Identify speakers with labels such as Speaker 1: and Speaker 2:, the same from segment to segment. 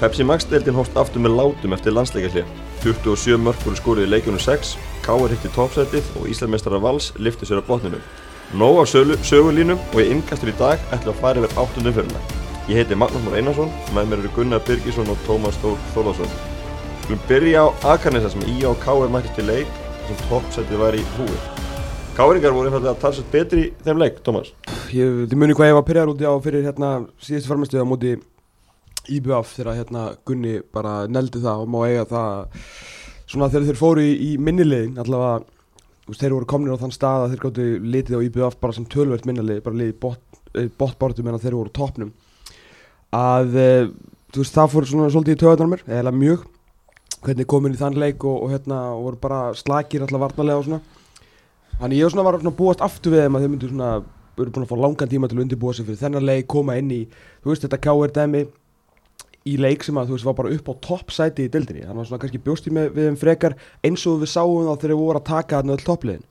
Speaker 1: Pepsi Max deildin hófst aftur með látum eftir landsleikahlið. 27 mörg voru skorið í leikjunum 6, K.R. hitti toppsætið og Íslandmeistarar Vals lifti sér á botninu. Nóa sölu, sögulínum og ég innkastur í dag ætla að fara yfir 8. fyrirna. Ég heiti Magnús Mór Einarsson, með mér eru Gunnar Birgisson og Tómas Þór Þórðarsson. Við skulum byrja á Akanesa sem í og K.R. mættist í leik sem toppsætið var í húi. K.R.ingar voru einfallega talsett betri í þeim leik, Tómas.
Speaker 2: Ég, þið muni hvað ég var að pyrjaður úti á fyrir hérna síðustu farmestuð á móti IBF þegar hérna Gunni bara neldi það og má eiga það svona þegar þeir fóru í, í minnilegin allavega, þú veist, þeir voru komnir á þann stað að þeir gáttu litið á IBF bara sem tölvert minnilegi, bara liðið bóttbártum en að eh, þeir voru á topnum að eh, þú veist, það fór svona svolítið í töðunar mér, eða mjög hvernig komin í þann leik og, og hérna og voru bara slakir allavega varnalega og svona Þannig ég var svona var svona að búast aftur við þeim að þeir myndu svona eru búin að fá langan tíma til að undirbúa sig fyrir þennan leik koma inn í, þú veist þetta KR dæmi í leik sem að þú veist var bara upp á toppsæti í deildinni, þannig að svona kannski bjóst ég með við þeim frekar eins og við sáum þá þegar við vorum að taka þarna öll toppliðin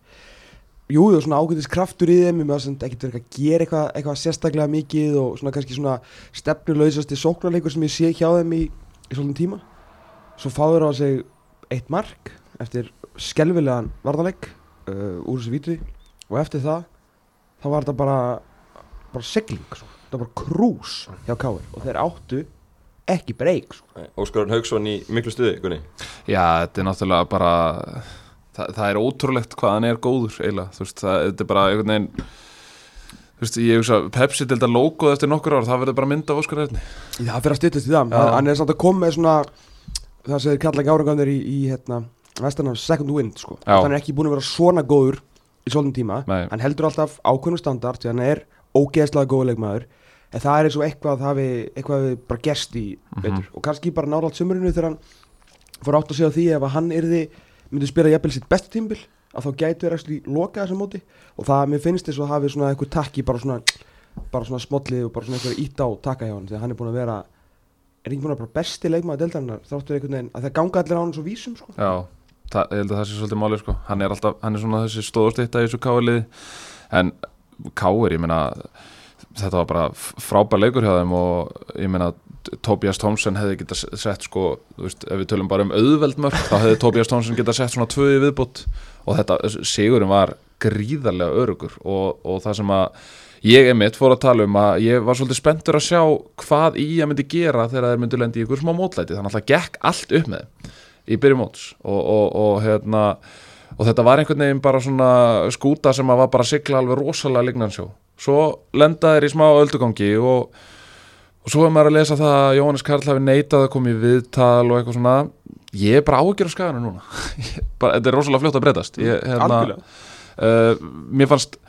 Speaker 2: Jú, það var svona ágætis kraftur í þeim, ég með það sem ekkert verið að gera eitthvað, eitthvað sérstaklega mikið og svona kannski svona stefnuleysasti sóknarleikur sem ég sé hjá þeim í, í svolítið tíma svo fáður á sig eitt mark eftir skelvilegan varðanleik uh, úr þessu víti og eftir það þá var þetta bara bara segling, sko. þetta var bara krús hjá Káir og þeir áttu ekki breyk sko.
Speaker 1: Óskarun Haugsson í miklu stuði, Gunni.
Speaker 3: Já, þetta er náttúrulega bara það, það er ótrúlegt hvað hann er góður eiginlega, þú veist, það, þetta er bara einhvern veginn þú veist, ég hugsa Pepsi delta logoð eftir nokkur ár, það verður bara mynd af Óskar Erni.
Speaker 2: það fyrir að styttast í það, hann, hann er samt að koma með svona það sem þeir kalla ekki árangarnir í, í hérna, vestanaf second wind sko.
Speaker 3: Já.
Speaker 2: hann er ekki búin að vera svona góður í svolítið tíma,
Speaker 3: Nei.
Speaker 2: hann heldur alltaf ákveðnum standard því hann er ógeðslega góður leikmaður en það er eins og eitthvað það hafi, eitthvað hafi bara gerst í veitur og kannski bara nálátt sömurinu þegar hann fór átt að segja á því ef að hann yrði myndi spila jafnvel sitt bestu tímbil að þá gætu er ekki loka þessum móti og það mér finnst þess að hafi svona eitthvað takki bara svona, bara svona smollið og bara svona eitthvað ít á taka hjá hann því að hann er búin að vera er ekki búin að vera bara besti leikmaður deildarinnar þráttur einhvern veginn að það ganga allir á hann svo vísum sko.
Speaker 3: Já, það, ég held að það sé svolítið málið sko. hann er alltaf, hann er svona þessi stóðstýtta í þessu káliði, en káir, ég meina þetta var bara f- frábær leikur hjá þeim og ég meina Tobias Thompson hefði geta sett sko, þú veist, ef við tölum bara um auðveld mörg, þá hefði Tobias Thompson geta sett svona tvö í viðbútt og þetta, sigurinn var gríðarlega örugur og, og það sem að ég einmitt fór að tala um að ég var svolítið spenntur að sjá hvað í að myndi gera þegar þeir myndi lendi í ykkur smá mótlæti, þannig að það gekk allt upp með þeim í byrjum móts og, og, og hérna og þetta var einhvern veginn bara svona skúta sem að var bara að sigla alveg rosalega lignansjó svo lenda þeir í smá öldugangi og, og svo er maður að lesa það að Jóhannes Karl hafi neitað að koma í viðtal og eitthvað svona ég er bara áhyggjur af skaganu núna Ég bara, þetta er rosalega fljótt að breytast ég, hérna,
Speaker 2: algjörlega
Speaker 3: uh, mér fannst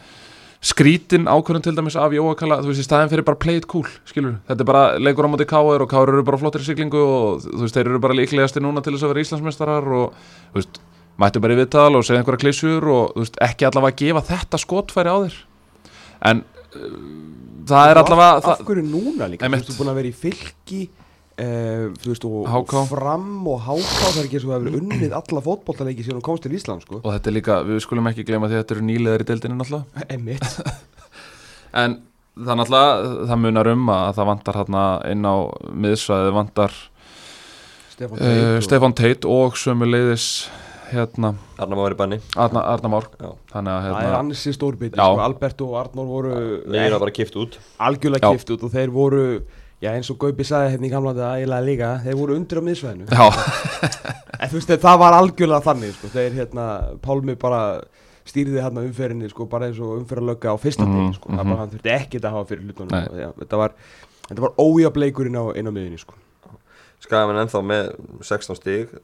Speaker 3: skrítin ákvörðun til dæmis af Jóa Kalla, þú veist, í staðin fyrir bara play it cool, skilur, þetta er bara leikur á móti K.R. og K.R. eru bara flottir í siglingu og þú veist, þeir eru bara líklegasti núna til þess að vera Íslandsmeistarar og, þú veist, mættu bara í viðtal og segja einhverja klissur og, þú veist, ekki allavega að gefa þetta skotfæri á þér en uh, það er allavega
Speaker 2: af
Speaker 3: það,
Speaker 2: hverju núna líka, þú
Speaker 3: Einmitt.
Speaker 2: veist, þú er búin að vera í fylki uh, þú veist, og
Speaker 3: HK.
Speaker 2: og fram og háká það er ekki eins og það hefur unnið alla fótbollaleiki síðan hún komst til Ísland, sko
Speaker 3: og þetta er líka, við skulum ekki gleyma því að þetta eru nýlegar í deildinu náttúrulega Eh,
Speaker 2: emitt,
Speaker 3: En það er náttúrulega, það munar um að það vantar hérna inn á miðsvæði, vantar
Speaker 2: Stefán Teit
Speaker 3: uh,
Speaker 2: og-
Speaker 3: Stefan Teit og sömuleiðis hérna,
Speaker 1: Arnar Már í banni.
Speaker 3: Arna, Arna Már.
Speaker 1: Já.
Speaker 3: Þannig að
Speaker 2: það er
Speaker 3: hérna,
Speaker 2: ansi stórbiti,
Speaker 3: Já.
Speaker 2: sko, Albert og Arnór voru
Speaker 1: Legin var bara kipt út.
Speaker 2: algjörlega
Speaker 3: Já.
Speaker 2: kift út og þeir voru já, eins og Gaupi sagði hérna í gamla þetta ægilega líka, þeir voru undir á miðsvæðinu
Speaker 3: já,
Speaker 2: En þú veist, það var algjörlega þannig, sko, þeir hérna, Pálmi bara stýrði hérna umferðinni, sko, bara eins og umferðalögga á fyrsta
Speaker 3: Mhm,
Speaker 2: degi, sko, það
Speaker 3: mhm.
Speaker 2: bara hann þurfti ekkert að hafa fyrir hlutunum,
Speaker 3: Nei.
Speaker 2: og já, þetta var, þetta var ójafleikur inn á, inn á miðunni, sko.
Speaker 1: Skagamenn ennþá með 16 stig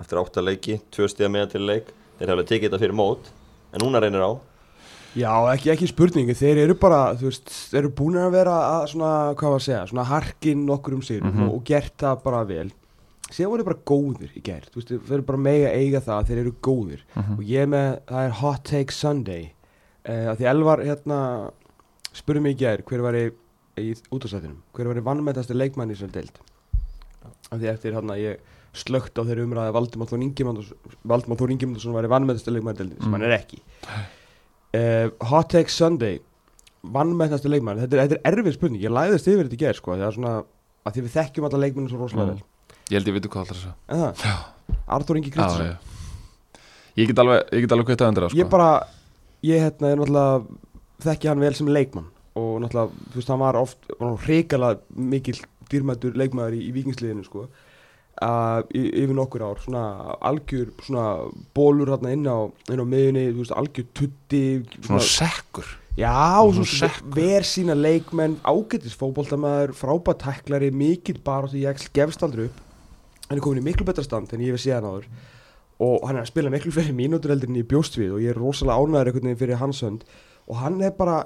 Speaker 1: eftir 8 leiki, 2 stig að meða til leik þeir hefði tekið þetta fyrir mót en núna reynir á
Speaker 2: Já, ekki, ekki spurningi, þeir eru bara, þú veist, þeir eru búin að vera að svona, hvað var að segja, svona harkin nokkur um sig
Speaker 3: Mhm.
Speaker 2: og, og gert það bara vel. Sér voru þeir bara góðir í gær, þú veist, þeir eru bara mega eiga það að þeir eru góðir. og ég er með, það er Hot Take Sunday uh, því Elvar hérna spurði mig í gær hver var í, í útastættinum, hver var í vannmættasti leikmann í sér deild af því eftir hérna ég slögt á þeirri umræði að Valdimar Þór Ingimundarsson Valdimar Þór Ingimundarsson var í vannmættasti leikmann í deildinni sem
Speaker 3: Mm.
Speaker 2: hann er ekki uh, Hot Take Sunday vannmættasti leikmann, þetta er, þetta er erfið spurning ég læðist yfir þetta í gær sko, það er svona að því við þekkjum alla leikmennu svo rosalega
Speaker 3: Mm. Ég held ég veitu hvað alltaf þess
Speaker 2: vel en það, Artur Ingi
Speaker 3: að
Speaker 2: Kristjánsson
Speaker 3: Já, já Ég get alveg, ég get alveg kvitt að undir það sko
Speaker 2: ég bara, ég hérna er náttúrulega þekki hann vel sem leikmann og náttúrulega, þú veist, hann var oft var hann hrikalega mikill dýrmættur leikmaður í, í vikingsliðinu, sko uh, y- yfir nokkur ár, svona
Speaker 3: Mm.
Speaker 2: algjör, svona bólur hérna inn á, inn á miðunni, þú veist, algjör tutti,
Speaker 3: Svona sekkur
Speaker 2: Já,
Speaker 3: Og
Speaker 2: svo
Speaker 3: svona sekkur.
Speaker 2: ver sína leikmenn, ágætis fótboltamaður, frábært tæklari, mikill barótt í jæksl, gefst aldrei upp. Hann er komin í miklu betra stand en ég hef séð hann áður og hann er að spila miklu fyrir mínútur heldur en ég bjóst við og ég er rosalega ánæður einhvern veginn fyrir hans hönd og hann er bara,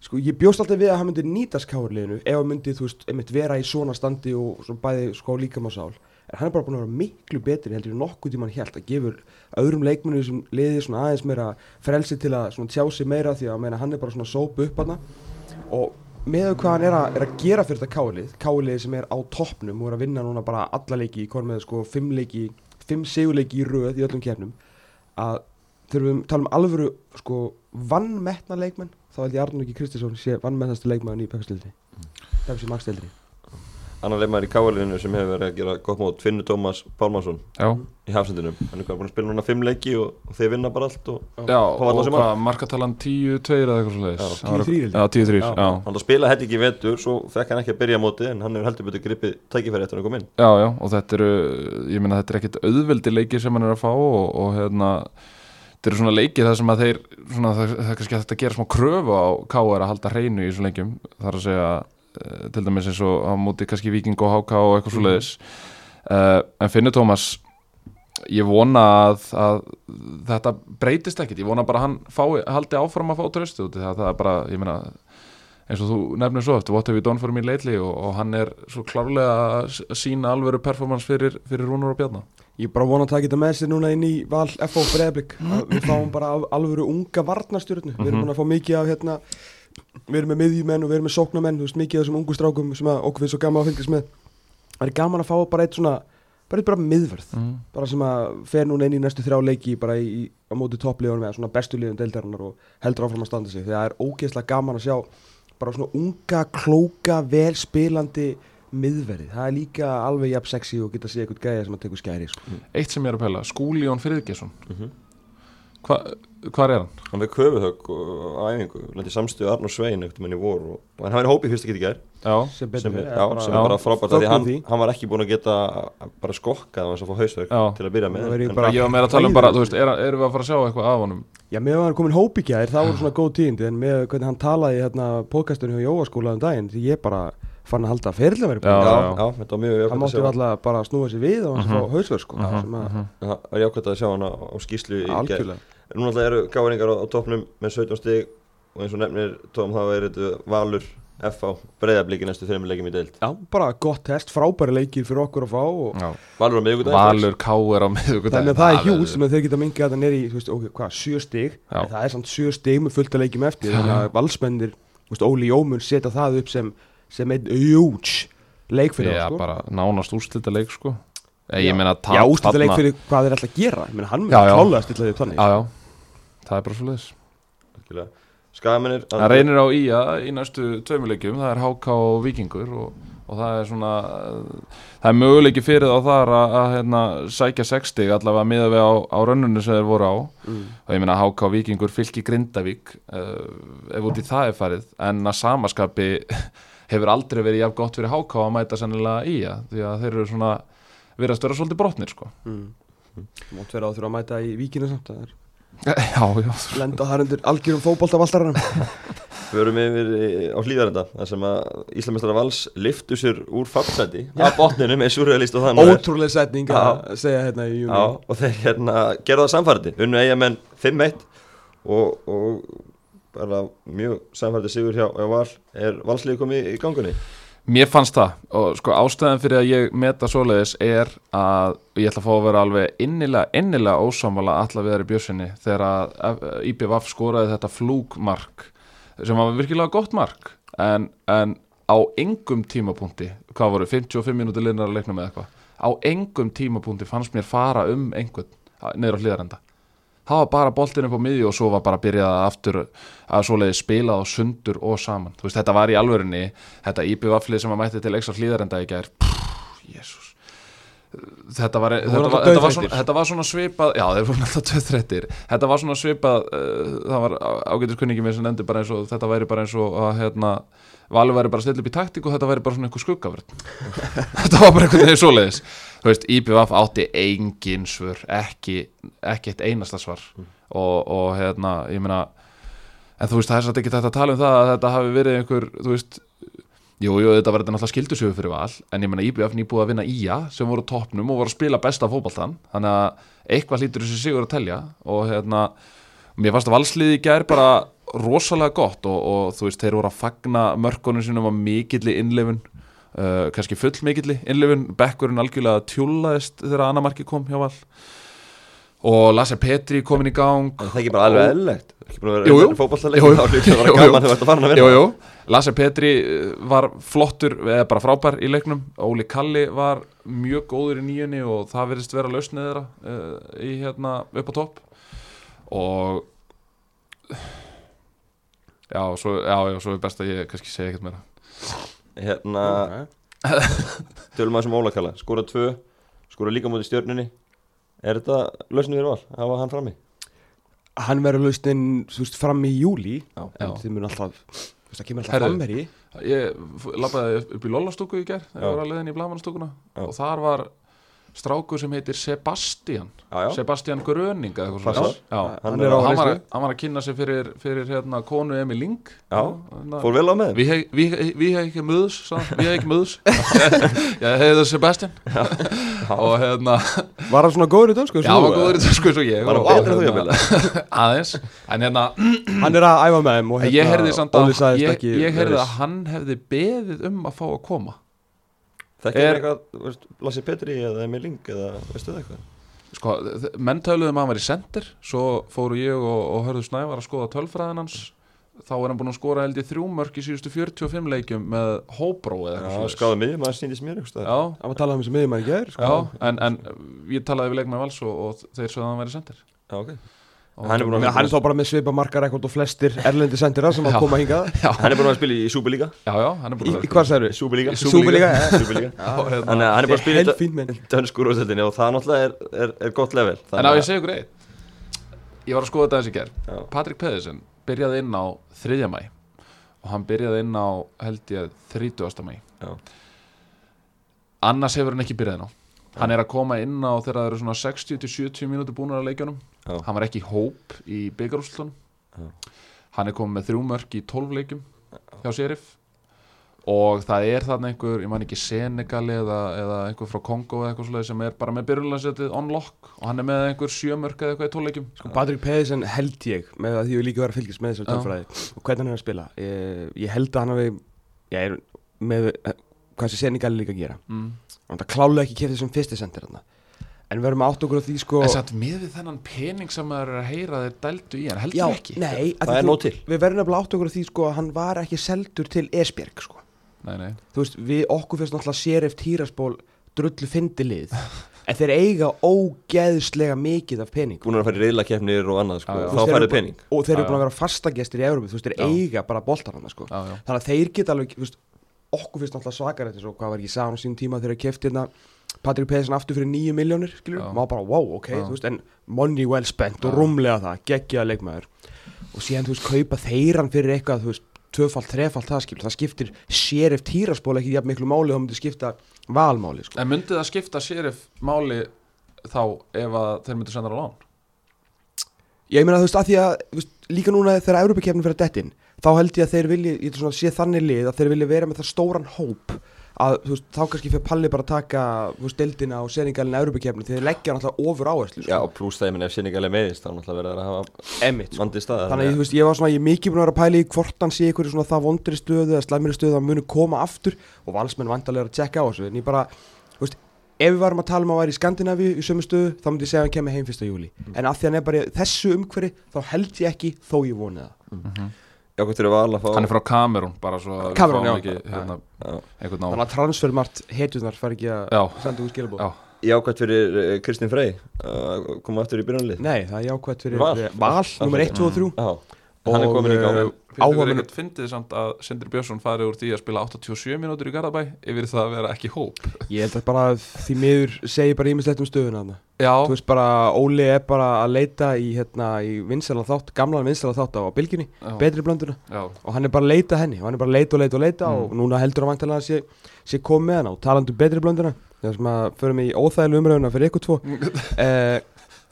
Speaker 2: sko, ég bjóst alltaf við að hann myndi nýtast káurliðinu ef hann myndi, þú veist, einmitt vera í svona standi og svona bæði sko líkam á sál. En hann er bara búin að vera miklu betri heldur en nokkuð tíma hann held að gefur öðrum leikmennu sem liði svona aðeins meira frelsi til að svona tjá sig meira því að meina, hann er bara svona sóp upp hann og með hvað hann er að, er að gera fyrir þetta kálið, kálið sem er á toppnum og er að vinna núna bara alla leiki í kormið sko fimm leiki, fimm sigurleiki í röð í öllum kefnum að þurfum tala um alvöru sko vannmetna leikmenn þá held ég Arnur ekki Kristinsson sé vannmetnasti leikmann í pekastildri það er sem magstildri
Speaker 1: Annar leikmaður í káalinu sem hefur verið að gera gott mót Finnur Tómas Pálmarsson
Speaker 3: Já,
Speaker 1: í hafsendinum Hann er hvað búin að spila núna fimm leiki og, og þeir vinna bara allt og
Speaker 3: já
Speaker 1: var
Speaker 3: og
Speaker 1: það sem
Speaker 3: hvað, markatalan 10-2 eða eitthvað svo
Speaker 1: Já,
Speaker 3: leiðis
Speaker 2: 10-3 held ég.
Speaker 3: Já, 10-3,
Speaker 1: Já.
Speaker 3: já
Speaker 1: Hann spila hætti ekki í vetur, svo fekk hann ekki að byrja á móti en hann hefur heldur betur gripið tækifæri eftir að koma inn
Speaker 3: Já, já, og þetta eru, ég meina þetta er ekkit auðveldi leikir sem hann er að fá og, og hérna, þetta eru svona leikir þar sem að þeir, svona það, það er kannski hægt að gera smá kröfu á K.R. að halda hreinu í svona leikjum, þar að segja eh, til dæmis eins og á móti kannski Viking og HK og eitthvað svoleiðis uh, en Finnur Tómas ég vona að, að þetta breytist ekkit, ég vona bara að hann fái, haldi áfram að fá tröstu út það, það er bara, ég meina eins og þú nefnir svo eftir What Have You Done For Me Lately og, og hann er svo klárlega að s- sína alvöru performance fyrir, fyrir Rúnar og Bjarnar
Speaker 2: ég bara vona að taka þetta með sér núna inn í val F.O. Breiðblik að við fáum bara al- alvöru unga varnarstjórnu við erum búin að fá mikið af hérna við erum með miðjumenn og við erum með sóknamenn þú veist, mikið af þessum ungu strákum sem að okkur við svo gaman að fylgjast með það er gaman að fá bara eitt svona bara eitt bara miðvörð bara sem að fer núna inn í næstu þrjá leiki bara í, á móti toppliðunum eða svona bestu liðum deildarinnar og heldur áfram að standa sig því að það er ógeðslega gaman að sjá bara svona unga, klóka, vel spilandi miðverði, það er líka alveg jafn sexy og geta að sé eitthvað gæja sem að tekur skæri sko.
Speaker 1: Mm.
Speaker 3: Eitt sem ég er að pæla, Skúli Jón Friðgesson
Speaker 1: Mhm.
Speaker 3: Hva, Hvar er hann?
Speaker 1: Hann fekk höfuðhögg og- á æfingu, lendi samstuð Arnur Svein eftir menn í vor og, og en hann var í hópi fyrst að geta gær
Speaker 3: Já,
Speaker 2: sem
Speaker 1: sem er,
Speaker 2: fer,
Speaker 1: já, sem er
Speaker 3: já,
Speaker 1: bara frábært af því
Speaker 2: fögnum
Speaker 1: hann,
Speaker 2: því.
Speaker 1: hann var ekki búin að geta bara skokkað hans að fá hausverk
Speaker 3: Já.
Speaker 1: til að byrja með
Speaker 2: Það væri
Speaker 1: en-
Speaker 2: bara-
Speaker 3: ég var meira að tala um bara, þú veist, er, erum við að fara að sjá eitthvað af honum?
Speaker 2: Já, með að hann er komin hóp í gær, það voru svona góð tíðindi en með hvernig hann talaði í hérna, podcastunni hjá Jóaskóla um daginn, því ég bara fann að halda að ferðlega verið
Speaker 1: já,
Speaker 3: Já,
Speaker 1: já,
Speaker 2: búin
Speaker 1: Mhm.
Speaker 3: já.
Speaker 1: þetta var mjög
Speaker 2: hann
Speaker 1: jákvæmt að
Speaker 2: mátti
Speaker 1: sjá hann.
Speaker 2: alltaf bara snúa sér við og hann fá hausverð sko, sem að
Speaker 1: það var jákvæmt að sjá hann á, á skýslu í gær
Speaker 2: algjörlega
Speaker 1: núna alltaf eru gáðingar á, á topnum með 17 stig og eins og nefnir Tom þá er þetta Valur FH breyðabliki næstu þreymur leikum í deild
Speaker 2: Já, bara gott test, frábæri leikir fyrir okkur að fá og
Speaker 3: Já.
Speaker 1: Valur á miðvikudaginn strax.
Speaker 3: Valur K.R. á miðugudaginn
Speaker 2: þannig að það er hjúl sem að þeir geta mingið að það neri í, þú veist, ok, hvað, sjö stig
Speaker 3: Já.
Speaker 2: en það er samt sjö stig með fullt að leikjum eftir þannig að valsmennir, þú veist, Óli Jómun setja það upp sem, sem einn huge leik fyrir
Speaker 3: Já,
Speaker 2: okkur,
Speaker 3: bara nánast úrslita leik sko
Speaker 2: Já.
Speaker 3: Ég, ég meina
Speaker 2: sko.
Speaker 3: tap
Speaker 2: Já, ústættu leik
Speaker 3: þarna-
Speaker 2: fyrir hvað þeir ætla að gera, ég meina hann
Speaker 3: Já,
Speaker 2: mun
Speaker 3: já.
Speaker 2: klálega stilla því upp þannig
Speaker 3: Já, já, það er bara svo leiðis
Speaker 1: Algjörlega. Skagamennir
Speaker 3: Það reynir á í að í næstu tveimileikjum Það er HK og Víkingur og, og það er svona eh, Það er möguleiki fyrir þá þar að, að hérna, sækja 60 allavega miða við á, á rönnunni sem þeir voru á
Speaker 2: Mm.
Speaker 3: og ég meina HK Víkingur fylki Grindavík uh, ef út í það er farið en að samaskapi hefur aldrei verið jafn gott fyrir HK að mæta sennilega í að því að þeir eru svona verðast vera svolítið brotnir sko
Speaker 2: Mm. Mátt vera á þurfa að mæta í víkina samt að þeir
Speaker 3: Já, já,
Speaker 2: lenda þar undir algjörum fótbolta valdararinn
Speaker 1: Förum yfir í- á hlýðarenda þar sem að Íslamestara Vals liftu sér úr fallseti af botninu með surrealist og þannig
Speaker 2: Ótrúlega setning að segja hérna í júni
Speaker 1: Já, og þeir hérna gerðu það samfærdi unnu eigamenn 5-1 og, og bara mjög samfærdi sigur hjá, hjá Val er Valslið komið í gangunni
Speaker 3: Mér fannst það og sko ástæðan fyrir að ég meta svoleiðis er að og ég ætla að fá að vera alveg innilega, innilega ósámála alla við þar í bjössinni þegar að IBVF skoraði þetta flúkmark sem var virkilega gott mark en, en á engum tímapunkti, hvað voru, 55 minúti linnar að leikna með eitthvað, á engum tímapunkti fannst mér fara um einhvern að- niður á hlýðarenda það var bara boltin upp á miðju og svo var bara að byrja aftur að svoleiði spila á sundur og saman þú veist, þetta var í alvörunni, þetta IBF-lið sem að mætti til ekstra hlýðarenda í gær jésús þetta var,
Speaker 2: voru
Speaker 3: þetta, var,
Speaker 2: alltaf
Speaker 3: þetta, var svona,
Speaker 2: dauðþreyttir.
Speaker 3: þetta var svona svipað já þeir voru alltaf töðrættir þetta var svona svipað uh, það var ágætis kunningi mér sem nefndi bara eins og þetta væri bara eins og að hérna Valur væri bara að stilla upp í taktík og þetta væri bara svona einhver skuggavörn þetta var bara einhvern veginn svoleiðis þú veist IBVF átti engin svör ekki, ekki eitt einasta svar og, og hérna ég meina en þú veist það er satt ekki þetta að tala um það að þetta hafi verið einhver þú veist Jú, jú, þetta var þetta náttúrulega skildusöfu fyrir val en ég menna IBF nýbúið að vinna IA sem voru á toppnum og voru að spila besta fótboltan þannig að eitthvað hlýtur þessi sigur að telja og hérna, mér fannst að valsliði í gær bara rosalega gott og, og þú veist, þeir voru að fagna mörkunum sínum að mikilli innleifun uh, kannski full mikilli innleifun bekkurinn algjörlega tjúlaðist þegar annamarki kom hjá val og Lasse Petri komin í gang
Speaker 1: En það er ekki bara alveg eðlilegt Ekki búin að
Speaker 3: Jú, jú.
Speaker 1: vera fótballtaleg
Speaker 3: Jú, jú.
Speaker 1: Það er ekki bara
Speaker 3: Jú, jú.
Speaker 1: gaman þegar þú ert að fara að
Speaker 3: Jú,
Speaker 1: vera
Speaker 3: jú, Lasse Petri eh, var flottur eða bara frábær í leiknum Óli Kalli var mjög góður í nýjunni og það verðist vera lausnið þeirra uh, í hérna upp á topp og já, svo, já, já, svo er best að ég kannski segja ekkert meira
Speaker 1: Hérna, tölum að þessum ólakalla Skora tvö, skora líka mútið stjörnunni Er þetta lausnið fyrir val? Það var hann frammi
Speaker 2: Hann verður lausnin, þú veist, fram í júli
Speaker 3: Já.
Speaker 2: En þið mun alltaf, þú veist, það kemur alltaf
Speaker 3: Herðu.
Speaker 2: framherji
Speaker 3: Ég f- labbaði upp í Lollastúku í ger
Speaker 1: Já.
Speaker 3: þegar ég var að leiðin í Blamanastúkuna
Speaker 1: Já.
Speaker 3: og þar var strákur sem heitir Sebastian
Speaker 1: Já, já.
Speaker 3: Sebastian Gröninga eitthvað
Speaker 1: Passar.
Speaker 3: svoleiðis. Já.
Speaker 1: Hann
Speaker 2: Hann
Speaker 1: er
Speaker 2: er á
Speaker 3: hann var,
Speaker 2: listu
Speaker 3: hann var að kynna sig fyrir, fyrir hérna, konu Emil Ling hérna,
Speaker 1: Já. Fór vel á með þeim?
Speaker 3: Við hefði ekki möðus Við hefði ekki möðus Ég hefði það Sebastian Og hérna
Speaker 2: sko. Var hann svona góður í dönsku?
Speaker 3: Já, hann var góður í þessu sko, eins og ég
Speaker 1: Bara
Speaker 3: og
Speaker 1: betur en þú,
Speaker 3: hérna, Aðeins En hérna
Speaker 2: Hann er að æfa með þeim og
Speaker 3: Ég heyrði samt
Speaker 2: hérna,
Speaker 3: að
Speaker 2: Óli sagðist
Speaker 3: ég,
Speaker 2: ekki
Speaker 3: ég heyrði
Speaker 2: vera
Speaker 3: að
Speaker 2: viss.
Speaker 3: hann hefði beðið um að fá að koma
Speaker 1: Þekkir
Speaker 3: Er-
Speaker 1: er... eitthvað, þú veist, Lassi Petri eða Emil Ling eða veistu það eitthvað?
Speaker 3: Sko, þ- menn töluðum að hann var í sendir Svo fóru ég og, og hörðu Snævar að skoða tölfræðin hans Þá er hann búin að skora held ég þrjú mörk í síðustu 45 leikjum með Hóbró eða eitthvað
Speaker 1: Já,
Speaker 3: svoleiðis.
Speaker 1: skáði miðjum, það sýndist mér eitthvað
Speaker 3: Já,
Speaker 2: Hann var að tala um þessi miðjumann í gær sko.
Speaker 3: Já, en, en ég talaði við leikmenn vals og, og þeir sögðu að hann væri sendir
Speaker 1: Já, ok
Speaker 3: Og-
Speaker 1: Hann er búin
Speaker 2: Ég
Speaker 1: að
Speaker 2: meina, Hann er þá bara með svipa markarekord og flestir erlendi sendira sem
Speaker 3: Já.
Speaker 2: að koma hingað
Speaker 1: Hann er búin að spila í Súbelíka
Speaker 3: Já, já, hann er
Speaker 2: Í,
Speaker 3: búin að
Speaker 2: í hvað særu?
Speaker 1: Súbelíka
Speaker 3: Í Superliga,
Speaker 1: Súbelíka
Speaker 3: Já, hérna.
Speaker 1: Þannig að hann er bara að spila í
Speaker 2: Helt
Speaker 1: dö-
Speaker 2: fín menn
Speaker 1: dönsku úrstættinni og það náttúrulega er, er, er gott level
Speaker 3: En á ég segi ykkur eitt Ég var að skoða þetta þessi ger
Speaker 1: Já.
Speaker 3: Patrik Pedersen byrjaði inn á 3. mæ og hann byrjaði inn á held ég 30. mæ
Speaker 1: Já.
Speaker 3: Annars hefur hann ekki byrjaði inn á Hann er að koma inn á þegar það eru svona 60-70 mínútur búnar að leikjunum
Speaker 1: Já.
Speaker 3: Hann var ekki í hóp í byggarúslutunum Hann er komið með þrjú mörk í 12 leikjum hjá Serif og það er þarna einhver, ég man ekki Senegal eða, eða einhver frá Kongo eða eitthvað svoleið sem er bara með byrjulansetið on lock og hann er með einhver sjömörk eða eitthvað í tóleikjum
Speaker 2: Sko, Patrik Pedersen held ég með að því ég hef líka verið að fylgjast með þessar
Speaker 3: Já.
Speaker 2: tölfræði og hvernig hann er að spila ég, ég held að hann hafi ég er með eh, hvað þessi seningal líka að gera
Speaker 3: mm.
Speaker 2: hann það klálega ekki kefði sem fyrsti sendir hann en við erum að átt okkur á því sko
Speaker 3: en satt með við þennan pening sem maður er að heyra þeir dældu í hann heldur
Speaker 2: já,
Speaker 3: ekki
Speaker 2: nei, af
Speaker 1: Það
Speaker 2: því
Speaker 1: er
Speaker 2: þú-
Speaker 1: nóg til.
Speaker 2: við verðum að átt okkur á því sko að hann var ekki seldur til Esbjerg sko
Speaker 3: nei, nei.
Speaker 2: þú veist, við okkur fyrst náttúrulega sérif týrasból drullu fyndilið en þeir eiga ógeðslega mikið af pening
Speaker 1: Búin að fara í reyðlakefnir og annað sko.
Speaker 3: Já, já.
Speaker 1: Þá
Speaker 2: Þú veist, þeir
Speaker 1: færðu
Speaker 2: eru bara-
Speaker 1: pening
Speaker 2: og þeir eru
Speaker 3: Já,
Speaker 2: búin að vera fastagestir í Európa þú veist, þeir
Speaker 3: Já.
Speaker 2: eiga bara boltar hann sko.
Speaker 3: Já, já.
Speaker 2: þannig að þeir geta alveg þú veist, okkur finnst náttúrulega svakar eins og hvað var ekki sagðan á sínum tíma þegar þeir kefti hérna Patrik Pedersen aftur fyrir 9 miljónir skilur,
Speaker 3: Já.
Speaker 2: maður bara wow, ok,
Speaker 3: Já.
Speaker 2: þú veist en money well spent og
Speaker 3: Já.
Speaker 2: rúmlega það geggjaða leikmaður og síðan þú veist, kaupa þeiran fyrir eitthvað, þú veist, tvöfalt, trefalt það skilur, það skiptir sér ef týraspól ekki jafn miklu máli, þá myndi skipta valmáli, sko.
Speaker 3: en myndi það skipta sérif máli þá ef að þeir myndu senda á lán
Speaker 2: Ég meina þú veist að því að þú veist, líka núna þegar Európa-kefnin fyrir dettin þá held ég að þeir vilji, ég ætla svona að sé þannig lið að þeir vilji vera með það stóran hóp að þú veist, þá kannski fyrir Palli bara að taka þú veist, deildina og seningalina Európa-kefnin þegar þeir leggja náttúrulega ofur áherslu sko.
Speaker 1: Já, og pluss það, ég minn, ef sinningalega meðist Þá náttúrulega verður að hafa
Speaker 2: emitt
Speaker 1: vandi staðar
Speaker 2: Þannig að ég, þú veist, ég var svona, ég er mikið búin að vera að pæla í hvort hann sé ykkur svona það vondri stöðu eða slæmri stöðu að hann muni koma aftur og valsmenn vandarlega að tjekka á þessu en ég bara, þú veist, ef við varum að tala um að hann væri í Skandinavíu í sömu stöðu þá myndi ég segja að hann kemur heim fyrsta júli en af því að hann er bara í þessu umhverfi þá held ég ekki þó ég voni það
Speaker 1: Já, hvað þeir eru val að fá
Speaker 3: hann er frá Kamerún bara svo að við
Speaker 2: Kamerún,
Speaker 3: fáum
Speaker 2: já.
Speaker 3: ekki, hérna,
Speaker 1: Já.
Speaker 3: einhvern á
Speaker 2: Þannig að transfermart hetjurnar fær ekki að
Speaker 3: já,
Speaker 2: senda úr skilabóð
Speaker 3: já,
Speaker 1: jákvæmt fyrir uh, Kristinn Frey að koma aftur í byrjanlið
Speaker 2: Nei, það er jákvæmt fyrir
Speaker 1: Val.
Speaker 2: eh, Val, nummer 1, 2 og 3
Speaker 1: Já, hann er
Speaker 2: Og,
Speaker 1: komin í gang
Speaker 2: eh,
Speaker 3: Finnst þið
Speaker 2: Áhugamönnum-
Speaker 3: ekkert fyndið samt að Sindri Björnsson farið úr því að spila 87 mínútur í Garðabæ yfir það að vera ekki hóp
Speaker 2: Ég held að bara því miður segir bara ímislegt um stöðuna þarna.
Speaker 3: Já,
Speaker 2: Þú veist bara, Óli er bara að leita í, hérna, í vinsæla þátt, gamlan vinsæla þátt á bylginni,
Speaker 3: já,
Speaker 2: betri blönduna
Speaker 3: já,
Speaker 2: og hann er bara að leita henni og hann er bara að leita og leita og leita
Speaker 3: Mm.
Speaker 2: og núna heldur hann vantilega að sé, sé komið með hann og talandi um betri blönduna það sem að förum í óþægileg umræðuna fyrir ykkur tvo eh,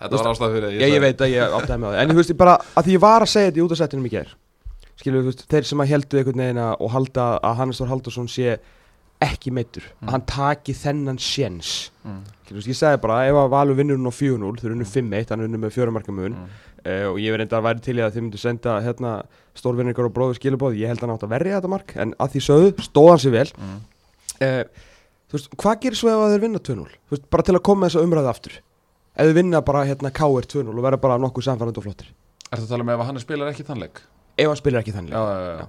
Speaker 3: þetta var ástæð fyrir að
Speaker 2: ég, ég
Speaker 3: sagði-
Speaker 2: veit að ég áttaði mig á því En þú veist, ég bara, að því ég var að segja þetta í útasættinum í gær Skilur, þú veist, þeir sem að heldu einhvern veginn að- og halda að Hannes Þór Halldórsson sé ekki meittur
Speaker 3: Mm.
Speaker 2: Að hann taki þennan sjens
Speaker 3: Mm,
Speaker 2: Skilur, þú veist, ég sagði bara, ef að Valur vinnur hún á 4-0 Þeir unnu 5-1, hann unnu með 4 marka mun
Speaker 3: mm.
Speaker 2: uh, og ég verði enda að væri til í að þið myndu senda hérna, stórvinni ykkur og bróður skilabóð ég held að hann átt að verja þetta mark en að því sögðu stóð hann sér vel
Speaker 3: Mm.
Speaker 2: uh, þú veist, hvað gerir svo ef að þeir vinna 2-0 Þú veist, bara til að koma þess að umræða aftur ef þeir vinna bara hérna KR 2-0 og verða bara nokkuð samfærandi og flottir
Speaker 3: Ertu að tala um ef hann spilar ekki þannleik?
Speaker 2: ef hann spilir ekki
Speaker 3: Já,
Speaker 2: þannig
Speaker 3: já, já,
Speaker 2: Já.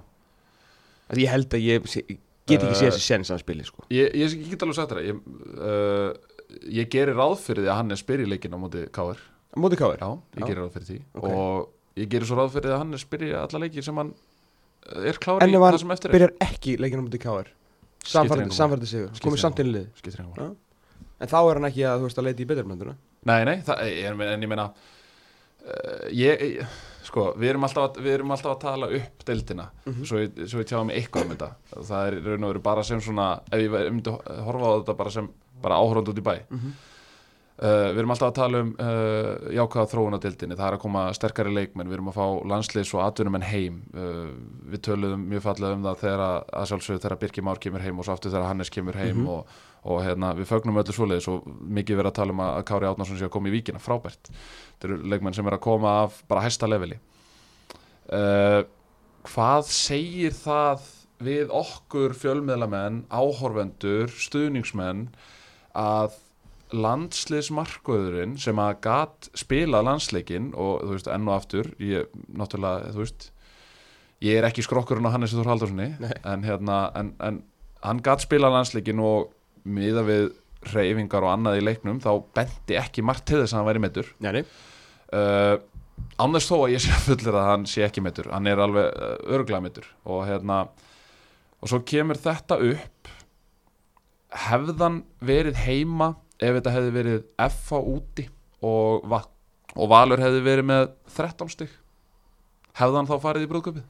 Speaker 2: Því ég held að ég sé, get ekki
Speaker 3: Eh,
Speaker 2: séð þessi séns að hann spilir sko.
Speaker 3: Ég, ég, ég get alveg sagt þér það ég, uh, ég gerir ráð fyrir því að hann er spyrir í leikinn á móti K.R.
Speaker 2: móti KR
Speaker 3: Já, ég
Speaker 2: Já.
Speaker 3: gerir ráð fyrir því
Speaker 2: Ok.
Speaker 3: og ég gerir svo ráð fyrir því að hann er spyrir alla leikir sem hann uh, er klár
Speaker 2: En
Speaker 3: í
Speaker 2: ef hann
Speaker 3: það sem eftir er
Speaker 2: byrjar ekki leikina móti KR
Speaker 3: engu máli.
Speaker 2: samfærandi samfærandi sigur
Speaker 3: Skiptir
Speaker 2: komið
Speaker 3: engu
Speaker 2: samt inn í lið
Speaker 3: Skiptir einhver
Speaker 2: en þá er hann ekki að, þú veist, að leita í beturblönduna
Speaker 3: Nei, nei, það, en, en ég meina uh, ég, ég, sko, við erum alltaf að, við erum alltaf að tala upp deildina, svo, ég, svo ég tjáði mig eitthvað um þetta, það er í raun og veru bara sem svona, ef ég væri- myndi ho- horfa á þetta bara sem, bara áhrónd út í bæ
Speaker 2: Mhm.
Speaker 3: uh, við erum alltaf að tala um uh, jákvæða þróun á deildinni, það er að koma sterkari leikmenn, við erum að fá landsliðs og atvinnumenn heim, uh, við töluðum mjög fallega um það þegar að, að sjálfsögðu þegar Birki Már kemur heim og svo aftur þegar Hannes kemur heim og, og hérna, við fögnum öllu svoleiðis og mikið verið að tala um að að Kári Átnarsson sé að koma í víkina, frábært þetta eru leikmenn sem er að koma af bara hæsta leveli uh, hvað segir það við okkur fjölmiðlamenn áhorfendur, stuðningsmenn að landsliðsmarkvöðurinn sem að gat spila landsleikinn og þú veist enn og aftur ég náttúrulega þú veist ég er ekki skrokkurinn á Hannes Þór Haldurssoni en hérna en, en hann gat spila landsleikinn og miða við reyfingar og annað í leiknum þá benti ekki margt til þess að hann væri meittur
Speaker 2: Nei, nei.
Speaker 3: uh, án þess þó að ég sé að fullir að hann sé ekki meittur hann er alveg uh, örglega meittur og hérna og svo kemur þetta upp hefðan verið heima ef þetta hefði verið FA úti og, va og Valur hefði verið með 13 stygg hefðan þá farið í brúðköpið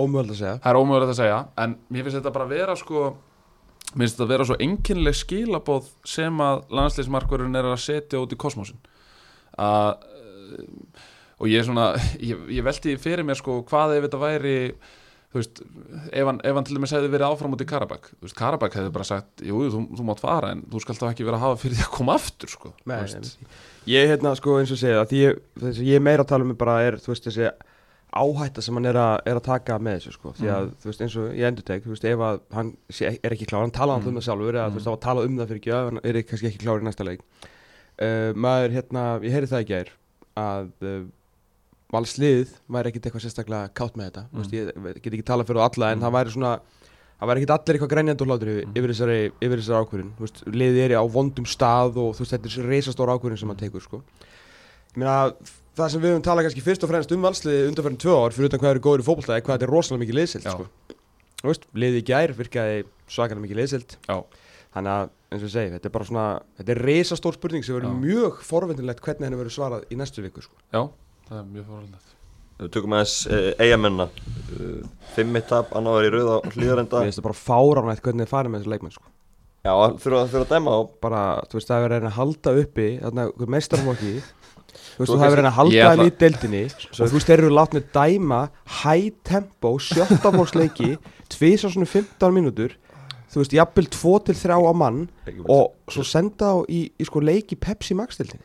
Speaker 2: ómöld að segja
Speaker 3: það er ómögulegt að segja en mér finnst þetta bara vera sko mér finnst þetta vera svo enginleg skilabóð sem að landsleismarkverðin er að setja út í kosmosin að eh, og ég er svona, ég, ég velti fyrir mér sko hvað ef þetta væri þú veist, ef hann, ef hann til dæmis hefði verið áfram út í Karabæk, þú veist, Karabæk hefði bara sagt jú, jú, þú, þú mátt fara en þú skalt þá ekki vera að hafa fyrir því að koma aftur sko þú
Speaker 2: Nei,
Speaker 3: veist.
Speaker 2: nei, ég hérna sko eins og segja því ég, þessi, ég er meira að tala um bara er þú veist þessi áhætta sem hann er, a, er að taka með þessu sko því að þú veist eins og ég endur teg þú veist ef að hann sé, er ekki klár hann talaði alltaf um það sjálfur eða þú veist þá að tala um það fyrir ekki ef hann er kannski ekki klár í næsta leik uh, maður hérna ég heyri það í gær að uh, valslið væri ekkit eitthvað sérstaklega kátt með þetta
Speaker 3: Mm.
Speaker 2: þú veist ég veit- get ekki tala fyrir það alla en það væri svona það væri ekkit allir eitthvað grænjandi og hlátur yfir,
Speaker 3: Mm.
Speaker 2: yfir þessari, yfir þessari ákvörðin þú veist, liðið er á vondum stað og þú veist, þetta er reysastóra ákvörðin sem hann
Speaker 3: Mm.
Speaker 2: tekur sko. ég meina, það sem við höfum talað kannski fyrst og fremst um valsliði undanferðin tvö ár fyrir utan hvað eru góður í fótbolta er hvað þetta er rosalega mikið liðsild
Speaker 3: Já.
Speaker 2: sko. Þú veist, liðið í gær virkaði svakalega mikið liðsild
Speaker 3: Já.
Speaker 2: þannig að, eins og ég segi, þetta er bara svona þetta er reysastór spurning sem verður
Speaker 3: Já.
Speaker 2: mjög forvendinlegt hvernig henni verður svarað í næstu viku sko.
Speaker 3: já, það er mjög fórhaldið
Speaker 1: Við tökum aðeins uh, eigamenna uh, Fimmi tap, annar í rauð á hlýðarenda
Speaker 2: Mér finnst það bara fáránlegt hvernig þið farið með þessi leikmenn sko.
Speaker 1: Já, þurfa þurfa að dæma á
Speaker 2: bara, þú veist, það er verið að reyna að halda uppi þarna, einhver meistarflokki þú veist,
Speaker 1: Svo
Speaker 2: það er verið að reyna að halda
Speaker 3: Ég ætla-
Speaker 2: henni í deildinni og þú veist, þeir eru látnið dæma high tempo, sjöttaflokksleiki tvisar svona 15 mínútur þú veist, jafnvel 2 til 3 á mann og svo senda þá í, í sko leiki Pepsi Max deildinni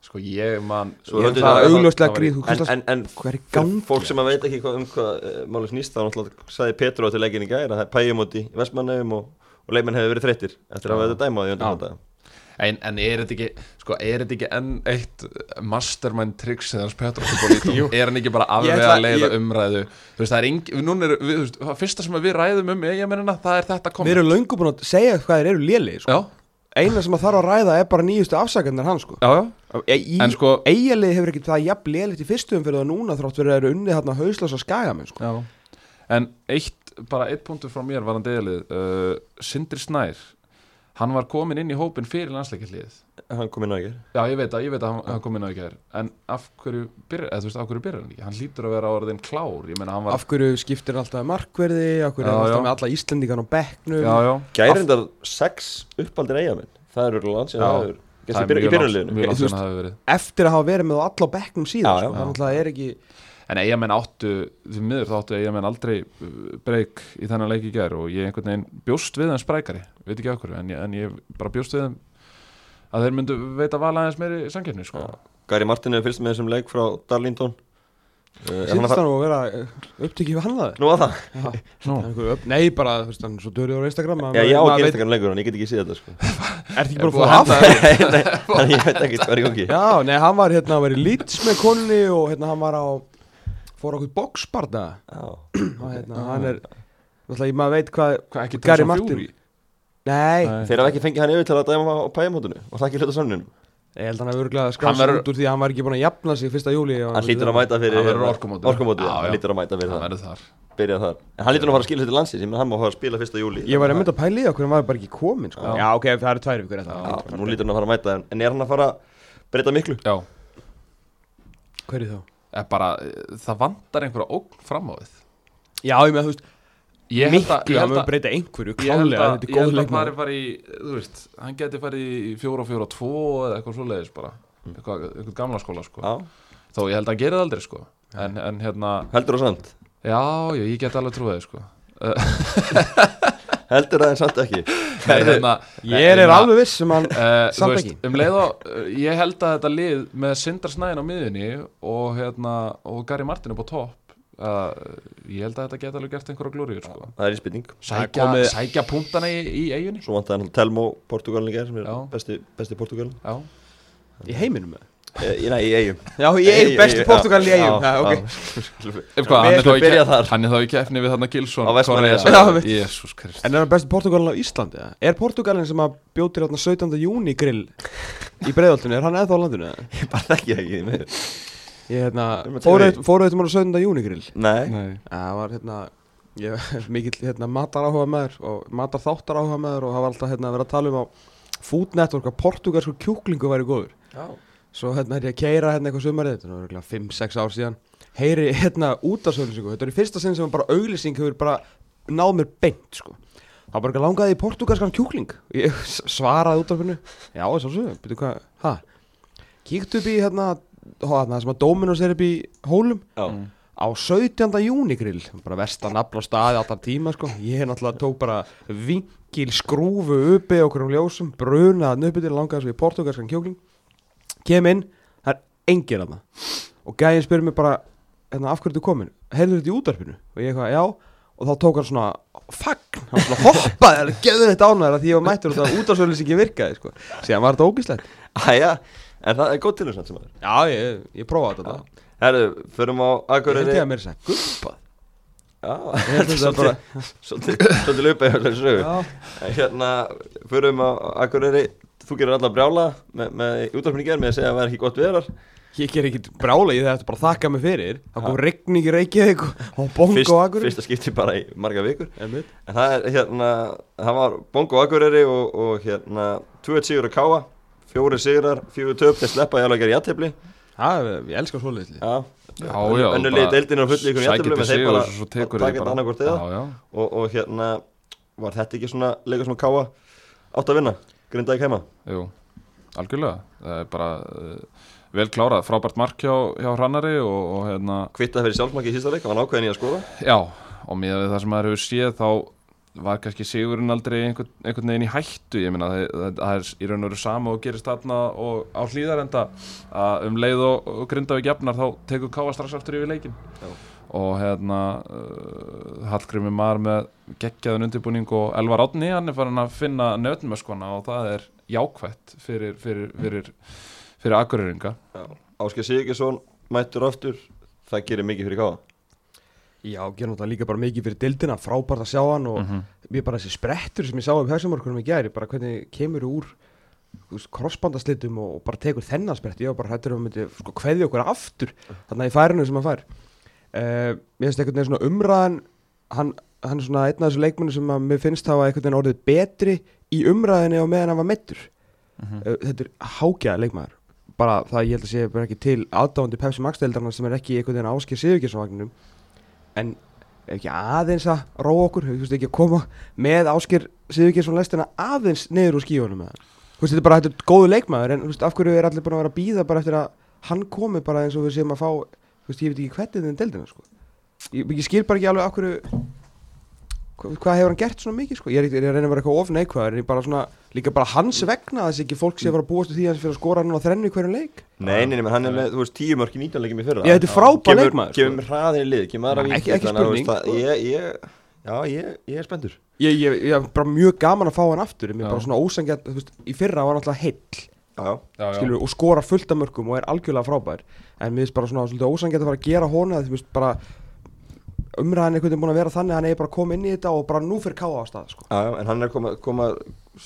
Speaker 3: sko ég man
Speaker 1: Svo
Speaker 3: ég
Speaker 1: höfðu-
Speaker 2: það
Speaker 1: það-
Speaker 2: er
Speaker 1: það-
Speaker 2: augljóslega
Speaker 3: það var í-
Speaker 2: gríð, þú
Speaker 1: En,
Speaker 2: veist,
Speaker 1: en, en
Speaker 2: hvað er í
Speaker 1: fyrir
Speaker 2: gangi
Speaker 1: fólk sem að veit ekki hvað, um hvað uh, málið snýst þá náttúrulega sagði Petru á til leikin í gæra það er pægjum út í Vestmannheim og, og leikmenn hefur verið þreyttir eftir að hafa þetta dæma á því undir þetta
Speaker 3: En, en er þetta ekki, sko, er þetta ekki enn eitt mastermind triks eða hans Petro Kupolito? er hann ekki bara
Speaker 2: Ég
Speaker 3: afvega
Speaker 2: ætla-
Speaker 3: að leiða
Speaker 2: ég-
Speaker 3: umræðu? Þú veist, það er engi, núna er, við, þú veist, það fyrsta sem við ræðum um eigamennina, það er þetta
Speaker 2: við
Speaker 3: komið.
Speaker 2: erum löngu búin að segja hvað þeir eru léli sko.
Speaker 3: Já,
Speaker 2: eina sem að þarf að ræða er bara nýjustu afsakarnir hans sko
Speaker 3: já, já,
Speaker 2: e í,
Speaker 3: en sko
Speaker 2: Eyjalið hefur ekki það jafn lélitt í fyrstum fyrir það núna þrátt fyrir að eru unnið hérna hauslösa skagamenn sko.
Speaker 3: Já, en eitt, bara eitt punktur frá mér var hann degalið uh, Sindri Snær, hann var komin inn í hópin fyrir landsleikjarlið
Speaker 1: Hann kom inn á ekki
Speaker 3: Já, ég veit að, ég veit að hann, hann kom inn á ekki þær En af hverju byrjar, eða þú veist, af hverju byrjar hann ekki? Hann hlýtur að vera orðin klár, ég meina hann var
Speaker 2: Af hverju skiptir hann alltaf markverði, af hverju er hann
Speaker 3: Já,
Speaker 2: alltaf
Speaker 3: já.
Speaker 2: með alla Íslendingan á bekknum
Speaker 3: Já, já,
Speaker 1: Gærindar sex uppaldir eigamenn Það eru lansin
Speaker 3: Já.
Speaker 1: aður Gerst í
Speaker 3: það er
Speaker 1: byr- í
Speaker 3: mjög langt-
Speaker 1: byrjunarliðinu
Speaker 3: mjög langt
Speaker 2: Þú
Speaker 3: sem það hefur verið
Speaker 2: Eftir að hafa verið með alla á bekknum síðan
Speaker 1: Já, já.
Speaker 2: sko. Hann alltaf er ekki
Speaker 3: En eigamenn áttu, því miður þá áttu eigamenn aldrei uh, breyk í þennan leik í gær og ég einhvern veginn bjóst við þeim sprækari, veit ekki okkur, en, ég- en ég bara bjóst við þeim að þeir myndu veita vala aðeins meiri samkeppni, sko.
Speaker 1: Gary Martin hefur fylgst með þessum leik frá Darlington uh, er hann að
Speaker 2: Sýnst
Speaker 1: fara-
Speaker 2: hann og vera eh, upptekið við hann það
Speaker 1: Nú að það?
Speaker 3: Nú,
Speaker 2: Einhver upp- Nei, bara, þú veist, hann er svo dörður á Instagram að
Speaker 1: Já, ég
Speaker 2: maður-
Speaker 1: á
Speaker 2: maður
Speaker 1: ekki
Speaker 2: veit-
Speaker 1: einstakar leikur en ég get ekki séð þetta sko
Speaker 2: Ertu ekki bara búin að hafa
Speaker 3: Ég er búið að henda
Speaker 1: Nei, Þannig ég veit ekki hvað er í gangi
Speaker 2: Já, nei, hann var hérna, hann var í Leeds með konni og hérna hann var á fór okkur boksbarda
Speaker 1: Já,
Speaker 2: og hérna, hann er náttúrulega, ég maður veit hvað
Speaker 3: Hvað ekki
Speaker 2: Gary
Speaker 3: Tyson
Speaker 2: Martin?
Speaker 3: Fury?
Speaker 2: Nei,
Speaker 3: Nei.
Speaker 1: Þeir hafa ekki fengið hann yfir til að dæma á pæjamótinu og það ekki hluta samninu
Speaker 2: ég held hann að örglega
Speaker 3: Hann
Speaker 2: skrása
Speaker 3: verður-
Speaker 2: út úr því að hann var ekki búin að jafna sig fyrsta júli
Speaker 1: Hann hlýtur að mæta fyrir
Speaker 3: Hann verður orkumótið.
Speaker 1: Orkumótið,
Speaker 3: Já, já.
Speaker 1: hann hlýtur að mæta fyrir
Speaker 3: Það
Speaker 1: það
Speaker 3: verður þar
Speaker 1: Byrja þar En hann hlýtur nú að fara að skila sér til landsins Ég menn hann má fara að spila fyrsta júli
Speaker 2: Ég var einmitt að pæla í okkur, hann var bara ekki komin sko.
Speaker 3: Já.
Speaker 2: Já, ok, það eru tvær vikur þetta
Speaker 1: Já, nú hlýtur hann að fara að mæta en- En er hann að fara að breyta miklu?
Speaker 3: Já,
Speaker 2: Hverju þá?
Speaker 3: er bara, eh, það vantar einhverja ógn fram á við
Speaker 2: Já, ég með, þú veist,
Speaker 3: Ég held að,
Speaker 2: miklu
Speaker 3: ég
Speaker 2: að
Speaker 3: held
Speaker 2: maður
Speaker 3: að
Speaker 2: breyta einhverju
Speaker 3: Ég held
Speaker 2: Klálega,
Speaker 3: að,
Speaker 2: þetta er
Speaker 3: ég
Speaker 2: góð
Speaker 3: held að
Speaker 2: leikmaður
Speaker 3: fari fari, þú veist, hann geti farið í fjóra og fjóra og tvo eða eitthvað svoleiðis bara, eitthvað, eitthvað gamla skóla sko.
Speaker 1: Já
Speaker 3: Þó ég held að hann geri það aldrei sko. en, en hérna,
Speaker 1: Heldur það samt?
Speaker 3: já, já, ég get alveg trúið sko.
Speaker 1: Heldur það en samt ekki
Speaker 3: Nei, hérna,
Speaker 2: Ég er alveg viss sem hann
Speaker 3: Uh,
Speaker 2: Samt
Speaker 3: veist,
Speaker 2: ekki.
Speaker 3: um leið og uh, ég held að þetta lið með Sindra Snæðin á miðunni og, hérna, og Gary Martin upp á topp uh, ég held að þetta geta alveg gert einhverja glóriður sko.
Speaker 1: Það er í spilning
Speaker 3: sækja,
Speaker 2: Það er komið-
Speaker 3: sækja punktana í, í eigunni
Speaker 1: Svo vantaði hann Telmo Portugalin í gerð sem er
Speaker 3: Já.
Speaker 1: besti, besti Portugalin
Speaker 3: já,
Speaker 2: í heiminum með
Speaker 1: e, Nei, í eigum
Speaker 2: Já, ég er besti Portugal í eigum Já, ok
Speaker 3: Efkvað, hann, er þá
Speaker 1: Við
Speaker 3: í
Speaker 1: byrja
Speaker 3: kef-
Speaker 1: þar
Speaker 3: hann er þá í kefni við þarna Gilson
Speaker 1: Á Vestmannaeyjar.
Speaker 2: Já,
Speaker 3: Correa.
Speaker 2: veit.
Speaker 3: Jesús Krist
Speaker 2: En er hann besti Portugalin á Íslandi? eða? Er Portugalin sem að bjótir 17. júni grill í breiðoltinu, er hann eða á landinu? eða?
Speaker 1: Ég bara þekki það ekki því miður
Speaker 2: Ég
Speaker 1: Við
Speaker 2: hérna,
Speaker 1: erum að tala í-
Speaker 2: fóruðu þetta mér á 17. júni grill
Speaker 1: Nei
Speaker 2: Það var hérna, ég er mikill hérna, matar áhuga maður og matar þáttar áhuga maður og það var alltaf hérna að vera að tala um á Food Network að portugalsku kjúklingu væri góður
Speaker 1: Já
Speaker 2: Svo hérna er ég að keira hérna eitthvað sumarið, þetta er örugglega 5-6 ár síðan Heyri hérna útasauðlýsingu, þetta er í fyrsta sinn sem bara auglýsing hefur bara náð mér beint sko Það var bara eitthvað langaði í portugalskan kjúkling Ég s- svaraði útafinu Já, svo svo, byrju hvað, ha Kíktu upp í hérna, hó, hérna sem að Dominos er upp í hólum á 17. júnigrill bara versta nafn á staði alltaf tíma sko. ég náttúrulega tók bara vinkil skrúfu uppi okkur um ljósum brunaði uppi til langaði svo í portugalskan kjókling kem inn, það er engin aðna og gæðin spyrir mig bara hérna, af hverju þú komin, heyrðu þetta í útarpinu og ég eitthvað, já, og þá tók hann svona fagn, hann svona hoppaði hann gefði þetta ánæður að því ég var mættur og það útarsöðlýsingi virkaði, sko, síðan var þetta ógíslegt
Speaker 1: Æja, en það er góð tilhjómsnætt sem maður
Speaker 2: já, ég, ég prófaði þetta
Speaker 1: Herru, förum á
Speaker 2: ég held
Speaker 1: Akureyri
Speaker 2: ég að mér segja, guppað Ég
Speaker 1: Já,
Speaker 2: held þetta bara-
Speaker 1: svolítið svolítið lupa hjá þessu sögu
Speaker 2: Já.
Speaker 1: En Hérna, förum á Akureyri Þú gerir alla brjála með, með útvarpinu í gerð með að segja að það er ekki gott veðrar
Speaker 2: Ég ger ekkert brála, ég þetta bara að þakka mig fyrir Það kom regning í Reykjavík og- og bongo
Speaker 1: Fyrst-
Speaker 2: og akkur
Speaker 1: Fyrsta skipti bara í marga vikur
Speaker 2: Einmitt.
Speaker 1: En það er hérna, það var Bongo Akureyri og, og hérna 2 sigur að káa, 4 sigrar 4 töp, þeir sleppa í alveg að gera jættefli
Speaker 2: Það, ég elska svoleiðisli
Speaker 1: Já,
Speaker 3: Já, já,
Speaker 1: Önnur
Speaker 3: bara
Speaker 1: lið deildin er fullið ykkur
Speaker 3: sækir
Speaker 1: jættefli
Speaker 3: til
Speaker 1: en þeir
Speaker 3: sigur
Speaker 1: bara
Speaker 3: og svo
Speaker 1: taka
Speaker 3: tekur þeir
Speaker 1: þetta
Speaker 3: bara-
Speaker 1: annarkvort eða
Speaker 3: Já, já.
Speaker 1: og, og hérna, var þetta ekki svona leikur svona káa átt að vinna, grindaði kæma
Speaker 3: Jú, algjörlega það er bara uh, vel klárað, frábært mark hjá, hjá Hrannari og, og hérna,
Speaker 1: kvittaði fyrir sjálfsmakki í sísta leik, hann var ákveðin í að skora
Speaker 3: já, og með það sem maður hefur séð þá var kannski sigurinn aldrei einhvern, einhvern veginn í hættu ég meina það, það, það er í raun og veru sama og gerist þarna og á hlýðarenda að um leið og, og Grindavík jafnar þá tekur Káa strax aftur yfir leikin
Speaker 1: Já.
Speaker 3: og hérna uh, Hallgrimur Mar með geggjaðan undirbúning og Elvar Átni hann er farin að finna nötnmöskona og það er jákvætt fyrir, fyrir, fyrir, fyrir akkurýringa
Speaker 1: Ásker Sigurgesson mættur aftur það gerir mikið fyrir káa
Speaker 2: Já, gerum þetta líka bara mikið fyrir dildina, frábært að sjá hann og ég bara þessi sprettur sem ég sá um hausamorkunum í gæri, bara hvernig kemur þú úr þú veist, krossbandaslitum og, og bara tekur þennan sprett, ég var bara hættur um að myndi sko kveði okkur aftur, þannig að ég færi hennu sem hann fær uh, mér finnst einhvern veginn svona umræðan hann, hann er svona einn af þessu leikmennu sem að mér finnst hafa einhvern veginn orðið betri í umræðinni og meðan hann var meittur
Speaker 3: Mhm.
Speaker 2: uh, þetta er hágæða leikmaður bara það ég held að sé bara ekki til aðdáðandi Pepsi Max deildarna sem er ekki í einhvern veginn áskir Sigurgjesson-vagninum en ef ekki aðeins að róa okkur þú veist ekki að koma með áskir Sigurgjesson-lestina aðeins niður úr skíunum með það þú veist þetta er bara þetta er góðu leikmaður en þú veist af hverju er allir búin að vera að býða bara eftir að hann komi bara eins og við séum að fá þú veist ég veit ekki hvernig þinn deildina sko ég, ég skil bara ekki alveg af hverju hva- hvað hefur hann gert svona mikið sko? ég er, ekki- ég er að reyna að vera eitthvað of neikvæður en ég bara svona, líka bara hans vegna að þessi ekki fólk sé að fara að búast við því að hann sé fyrir að skora núna þrennu í hverjum leik
Speaker 1: Nei, nei, nei, menn hann er með, þú veist, tíu mörk í 19 leikum í fyrra
Speaker 2: Já, þetta er frábær
Speaker 1: Kemur-
Speaker 2: leikmaður, sko.
Speaker 1: Kemur með hraðin í lið, kemur aðra
Speaker 2: Nei,
Speaker 1: víti
Speaker 2: ekki- ekki
Speaker 1: þannig að, þú veist,
Speaker 2: spurning,
Speaker 1: að
Speaker 2: sko.
Speaker 1: Ég, ég, já, ég, ég er spenntur
Speaker 2: ég, ég, ég er bara mjög gaman að fá hann aftur en mér er
Speaker 3: Já.
Speaker 2: bara svona ósangjart, þú veist, í fyrra var hann alltaf heill
Speaker 1: Já,
Speaker 3: já, já.
Speaker 2: skilur, og skorar fullt af mörgum og er algjörlega frábær en mér finnst bara svona svolítið ósangjart að fara að gera hona því mér finnst bara umræðan einhvern veginn búin að vera þannig að hann eigi bara að koma inn í þetta og bara nú fyrir káa á stað sko.
Speaker 1: já, já, en hann er að koma, koma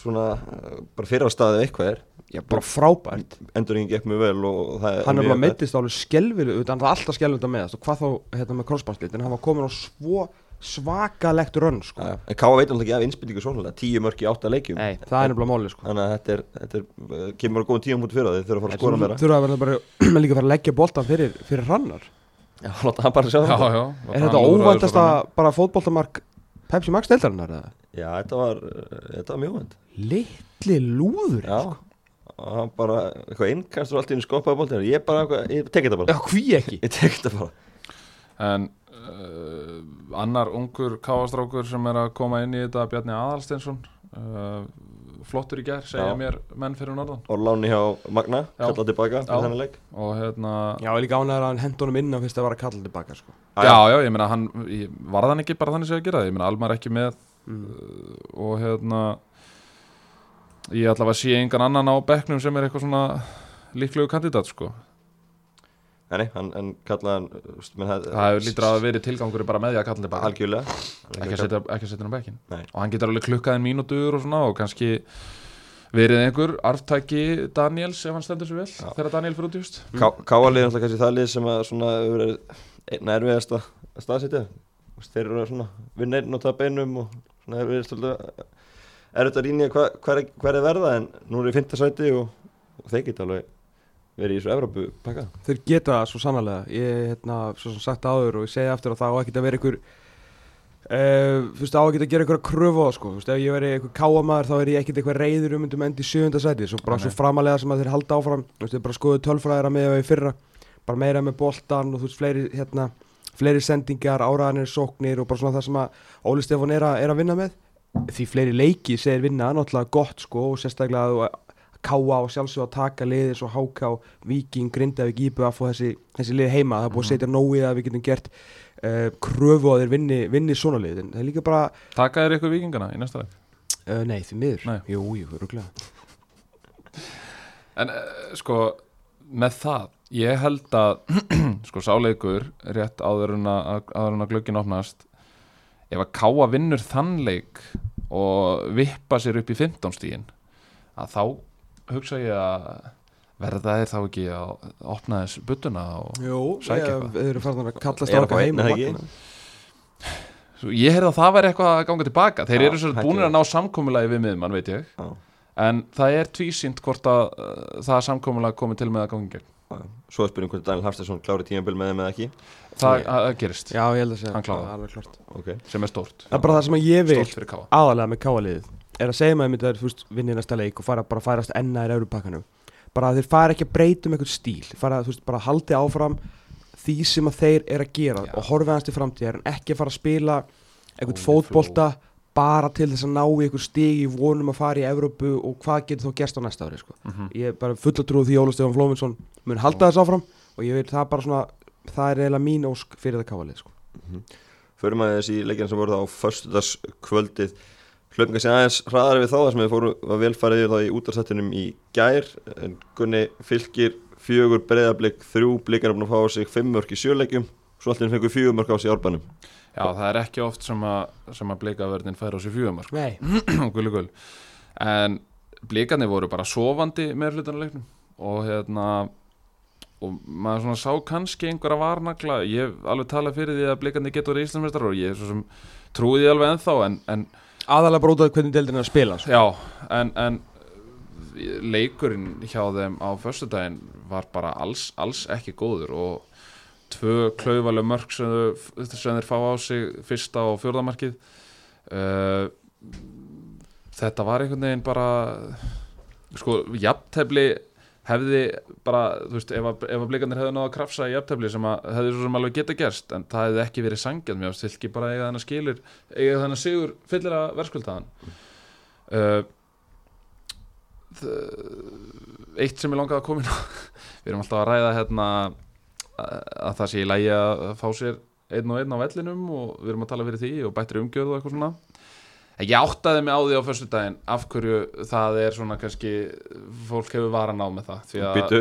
Speaker 1: svona, uh, bara fyrra á staðið eitthvað er
Speaker 2: já, bara frábært
Speaker 1: Endurinn gekk mjög vel og, og það
Speaker 2: hann er
Speaker 1: mjög-
Speaker 2: bara meittist alveg skelvilu hann er alltaf skelvilu að meðast og hvað þá hérna með krossbanslit en hann var komin á svo svakalegt rönn
Speaker 1: Já,
Speaker 2: sko.
Speaker 1: já, En Káa veit náttúrulega ekki af innspýtingu svona Tíu mörk í átta leikjum
Speaker 2: Nei, það er nefnilega máli sko.
Speaker 1: Þannig að þetta er, þetta er, uh, kemur á góðum tíum út fyrir það Þeir þurfa að fara að skora meira
Speaker 2: þurfa að verða bara líka að fara að leggja boltan fyrir, fyrir rannar
Speaker 1: Já, láta hann bara sjá
Speaker 3: já,
Speaker 1: þetta
Speaker 3: já,
Speaker 2: er þetta óvæntasta bara fótboltamark Pepsi Max deildarinnar eða?
Speaker 1: Já, þetta var, uh, þetta var mjög vend
Speaker 2: litli lúður
Speaker 1: Já, sko. og hann bara, eitthvað innkastur allt í henni skoppaði bóltinu Ég bara, eitthvað- ég tek þetta bara
Speaker 2: Já, hví ekki
Speaker 1: Ég tek þetta bara
Speaker 3: en uh, annar ungur káastrákur sem er að koma inn í þetta Bjarni Aðalsteinsson uh, flottur í gær, segja
Speaker 1: Já.
Speaker 3: mér menn fyrir norðan
Speaker 1: og láni hjá Magna,
Speaker 3: Já.
Speaker 1: kallað tilbaka
Speaker 3: Já.
Speaker 1: fyrir þennan leik
Speaker 3: og hérna
Speaker 2: Já, ég er líka ánæður að hann henda honum inn á fyrst að vara kallað tilbaka sko.
Speaker 1: Já,
Speaker 3: Já, já, ég meina, hann, ég, varð hann ekki bara þannig sem ég að gera það, ég meina, Almar ekki með
Speaker 2: mm.
Speaker 3: og hérna, ég ætla að sé engan annan á bekknum sem er eitthvað svona líklegu kandidat, sko.
Speaker 1: Nei, nei, hann, hann kallaði hann uh, veist, menn hafði-
Speaker 3: Það hefur lítur að hafa verið tilgangur bara með því að kalla þetta bara
Speaker 1: algjörlega Hann
Speaker 3: ekki að setja, ekki að setja hann á bekkin
Speaker 1: Nei.
Speaker 3: og hann getur alveg klukkað en mínútur og svona og kannski verið einhver arftæki Daniels ef hann stendur sér vel
Speaker 1: Já.
Speaker 3: þegar Daniel fyrir út í húst
Speaker 1: Ká, Káalið er alltaf kannski það lið sem að svona hefur verið einna erfiðast að að staðsetja Þú veist, þeir eru að svona vinna einn og tapa einum og svona hefur verið svolítið erfitt að rýna hver, hver, hver er verða en nú eru í fymta sæti og, og þeir geta alveg verið í þessu Evrópu pakka
Speaker 2: Þeir geta það svo sannlega Ég, hérna, svo sem sagt áður og ég segi aftur að það á ekkert að vera ykkur uh, Þú veist, á ekkert að gera ykkur að kröfu á það, sko Þú veist, ef ég veri ykkur káamaður þá er ég ekkert eitthvað reyður um myndum endi í sjöunda sæti Svo bara
Speaker 3: Nei.
Speaker 2: svo framalega sem að þeir halda áfram Þú veist, þeir bara skoðu tölfræðir að miða við í fyrra Bara meira með boltan og þú veist, fleiri, hérna Fleiri sendingar, áraðanir, sóknir og bara svona það sem að Óli Stefán er, að- er að vinna með Því fleiri leiki segir vinna, náttúrulega gott sko Og sérstaklega að þú K.A. og sjálfsög að taka liðið svo H.K. Viking, Grindavík, IBF og þessi, þessi lið heima, það er
Speaker 3: Mhm.
Speaker 2: búið að setja nógu í það að við getum gert uh, kröfu að þeir vinni, vinni svona lið, en það er líka bara
Speaker 3: Taka þér ykkur vikingana í næsta veg
Speaker 2: uh, nei, því miður,
Speaker 3: Nei.
Speaker 2: jú, jú, rúglega
Speaker 3: En eh, sko, með það ég held að sko sáleikur rétt áður en að, áður en að glöggin opnast ef að káa vinnur þann leik og vippa sér upp í 15 stígin að þá hugsa ég að verða þeir þá ekki að opna þess buttuna og
Speaker 2: Jú,
Speaker 3: Sækja
Speaker 2: ég,
Speaker 3: eitthvað.
Speaker 2: við erum farin að kalla
Speaker 1: Er eitthvað
Speaker 2: stráka heim
Speaker 1: einn,
Speaker 2: og
Speaker 1: eða ekki?
Speaker 2: magna.
Speaker 3: Svo ég heyrði að það væri eitthvað að ganga tilbaka Þeir
Speaker 1: Já,
Speaker 3: eru svo
Speaker 1: hættu
Speaker 3: búinir að
Speaker 1: því.
Speaker 3: ná samkommulagi við miðmann, veit ég
Speaker 1: Já.
Speaker 3: En það er tvísýnt hvort að uh, það samkommulagi komi til með að ganga í gegn
Speaker 1: Svo er spurning hvort Daniel Hafstæðsson klári tímabil með þeim eða ekki
Speaker 3: Það að- að gerist,
Speaker 2: Já, ég held að segja,
Speaker 3: Hann klárar.
Speaker 2: alveg klart
Speaker 1: okay.
Speaker 3: sem er stórt
Speaker 2: Það er bara það sem ég vil
Speaker 3: Stórt fyrir káa
Speaker 2: aðalega með káaliðið er að segja maður að þeir vinni næsta leik og fara bara að færast enna í Europakkanum bara að þeir fara ekki að breyta um eitthvað stíl fara að þú veist, bara að haldi áfram því sem að þeir eru að gera
Speaker 3: Já.
Speaker 2: og horfa hans til framtíðar en ekki að fara að spila eitthvað
Speaker 3: Óli
Speaker 2: fótbolta bara til þess að ná í eitthvað stig í vonum að fara í Evrópu og hvað getur þá gerst á næsta ári sko. ég er bara full að trúið því Óla Stefán Flóminsson mun halda þess áfram og ég vil það bara svona það er eiginlega mín ósk fyrir það káalið sko.
Speaker 1: Förum að þessi leikina sem voru það á föstudagskvöldið Hlaupingar sem aðeins hraðar við þá þar sem við fórum að velfærið yfir það í útarsættinum í gær en Gunni fylgir fjögur breyðablík, þrjú blíkar að fá á sig fimm mörk í sjöleikjum svo allir fengur fjögur mörk á sig í árbænum
Speaker 3: Já, það er ekki oft sem að, sem að blikaverðin fær á sér fjögumar
Speaker 2: Nei
Speaker 3: gul, gul. en blikarnir voru bara sofandi með hlutanleiknum og hérna og maður svona sá kannski einhverja varnagla ég hef alveg talað fyrir því að blikarnir getur verið íslensmestrar og ég svo sem trúi því alveg ennþá en, en
Speaker 2: Aðalega bara út af hvernig deildin er að spila sko.
Speaker 3: já, en, en leikurinn hjá þeim á föstudaginn var bara alls, alls ekki góður og tvö klaufaleg mörg sem, þau- sem þeir fá á sig fyrsta og fjórðamarkið uh, þetta var einhvern veginn bara sko, jafntefli hefði bara, þú veist, ef að, ef að blikarnir hefði náða að krafsa í jafntefli sem að hefði svo sem alveg geta gerst, en það hefði ekki verið sangjað mér, fylgji bara eiga þennan skilur eiga þennan sigur fyllilega verðskuldaðan uh, þ- eitt sem ég langaði að koma inn á við erum alltaf að ræða hérna að að það sé í lægi að fá sér einn og einn á vellinum og við erum að tala fyrir því og bættri umgjörð og eitthvað svona En ég áttaði mig á því á fyrstu daginn af hverju það er svona kannski fólk hefur varan á með það því að
Speaker 1: Býtu,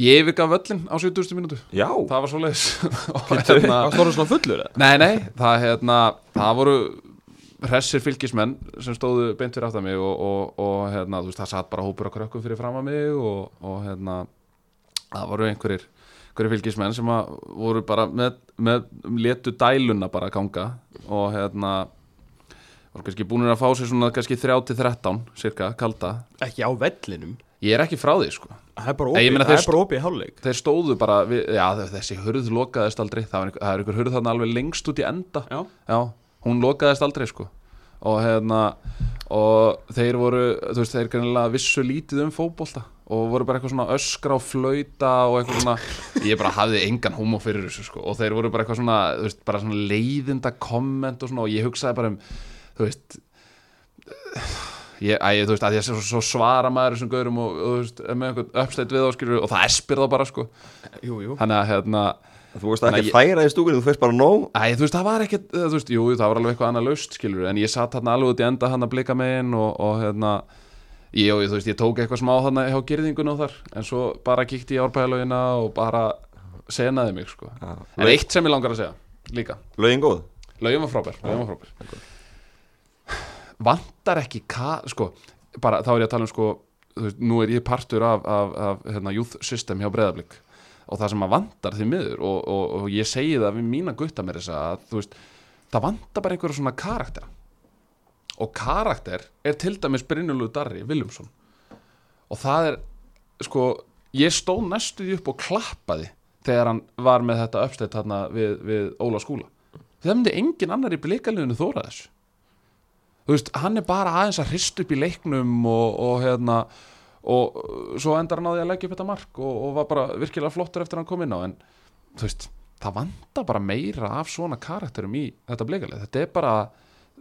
Speaker 3: ég yfirgaf völlin á 70. mínútu
Speaker 1: já,
Speaker 3: það var hérna- svo leiðis
Speaker 1: Bíddu.
Speaker 2: Það stóður svona fullur eða?
Speaker 3: Nei, nei, það, hérna, það voru hressir fylgismenn sem stóðu beint fyrir aftan mig og, og, og hérna, þú veist, það satt bara hópur á krökkum fyrir fram að mig og, og hérna, það voru einhverjir, einhverjir fylgismenn sem að voru bara með, með letu dæluna bara ganga og hérna voru kannski búinir að fá sér svona kannski 3-13 cirka, kalda
Speaker 2: Ekki á vellinum
Speaker 3: ég er ekki frá því sko
Speaker 2: Það er bara
Speaker 3: Nei, ég
Speaker 2: opið,
Speaker 3: meina
Speaker 2: það
Speaker 3: þeir
Speaker 2: er bara opið í hálfleik
Speaker 3: þeir stóðu bara, við, já þessi hurð lokaðist aldrei, það, var einhver, það er einhver hurð þarna alveg lengst út í enda
Speaker 2: Já
Speaker 3: Já, hún lokaðist aldrei sko og hérna og þeir voru, þú veist, þeir greinilega vissu lítið um fótbolta og voru bara eitthvað svona öskra og flauta og eitthvað svona ég bara hafði engan homo fyrir þessu sko og þeir voru bara eitthvað svona, þú veist, bara svona leiðinda komment og svona og ég hugsaði bara um þú veist ég, æ, þú veist, að ég sé svo, svo svara maður þessum gaurum og, og þú veist, með einhvern uppslætt við áskilur og það espir það bara sko
Speaker 2: Jú, jú
Speaker 3: þannig að hérna,
Speaker 1: þú veist ekki
Speaker 3: Nei, ég-
Speaker 1: að færa í stúkunni, þú feist bara nóg
Speaker 3: Æ, þú veist, það var ekkert, eh, þú veist, jú, það var alveg eitthvað annað laust, skilur, en ég satt hérna alveg út í enda hann að blika megin og, og hérna, ég, og, ég, þú veist, ég tók eitthvað smá þarna hjá gyrðingun og þar, en svo bara kíkti ég árbæðalögina og bara senaði mig, sko. En
Speaker 1: Lög-
Speaker 3: eitt sem ég langar að segja, líka,
Speaker 1: Lögin góð
Speaker 3: lögjum var frábær, lögjum var frábær. Vantar ekki, ka, sko, bara, þá er ég að tala um, sko, þú veist, nú er ég partur af, af, af hérna, youth system hjá Breiðablík og það sem að vantar því miður og, og, og ég segi það við mína gutta mér þess að þú veist, það vantar bara einhverja svona karaktera og karakter er til dæmis Brynjulú Darri Viljumsson og það er sko, ég stóð næstu því upp og klappaði þegar hann var með þetta uppstætt þarna við, við Óla skúla það myndi engin annar í blikaliðinu þóra þessu þú veist, hann er bara aðeins að hrist upp í leiknum og, og hérna og uh, svo endar hann á því að leggja upp þetta mark og, og var bara virkilega flottur eftir að hann kom inn á en þú veist, það vanda bara meira af svona karakterum í þetta blikalið, þetta er bara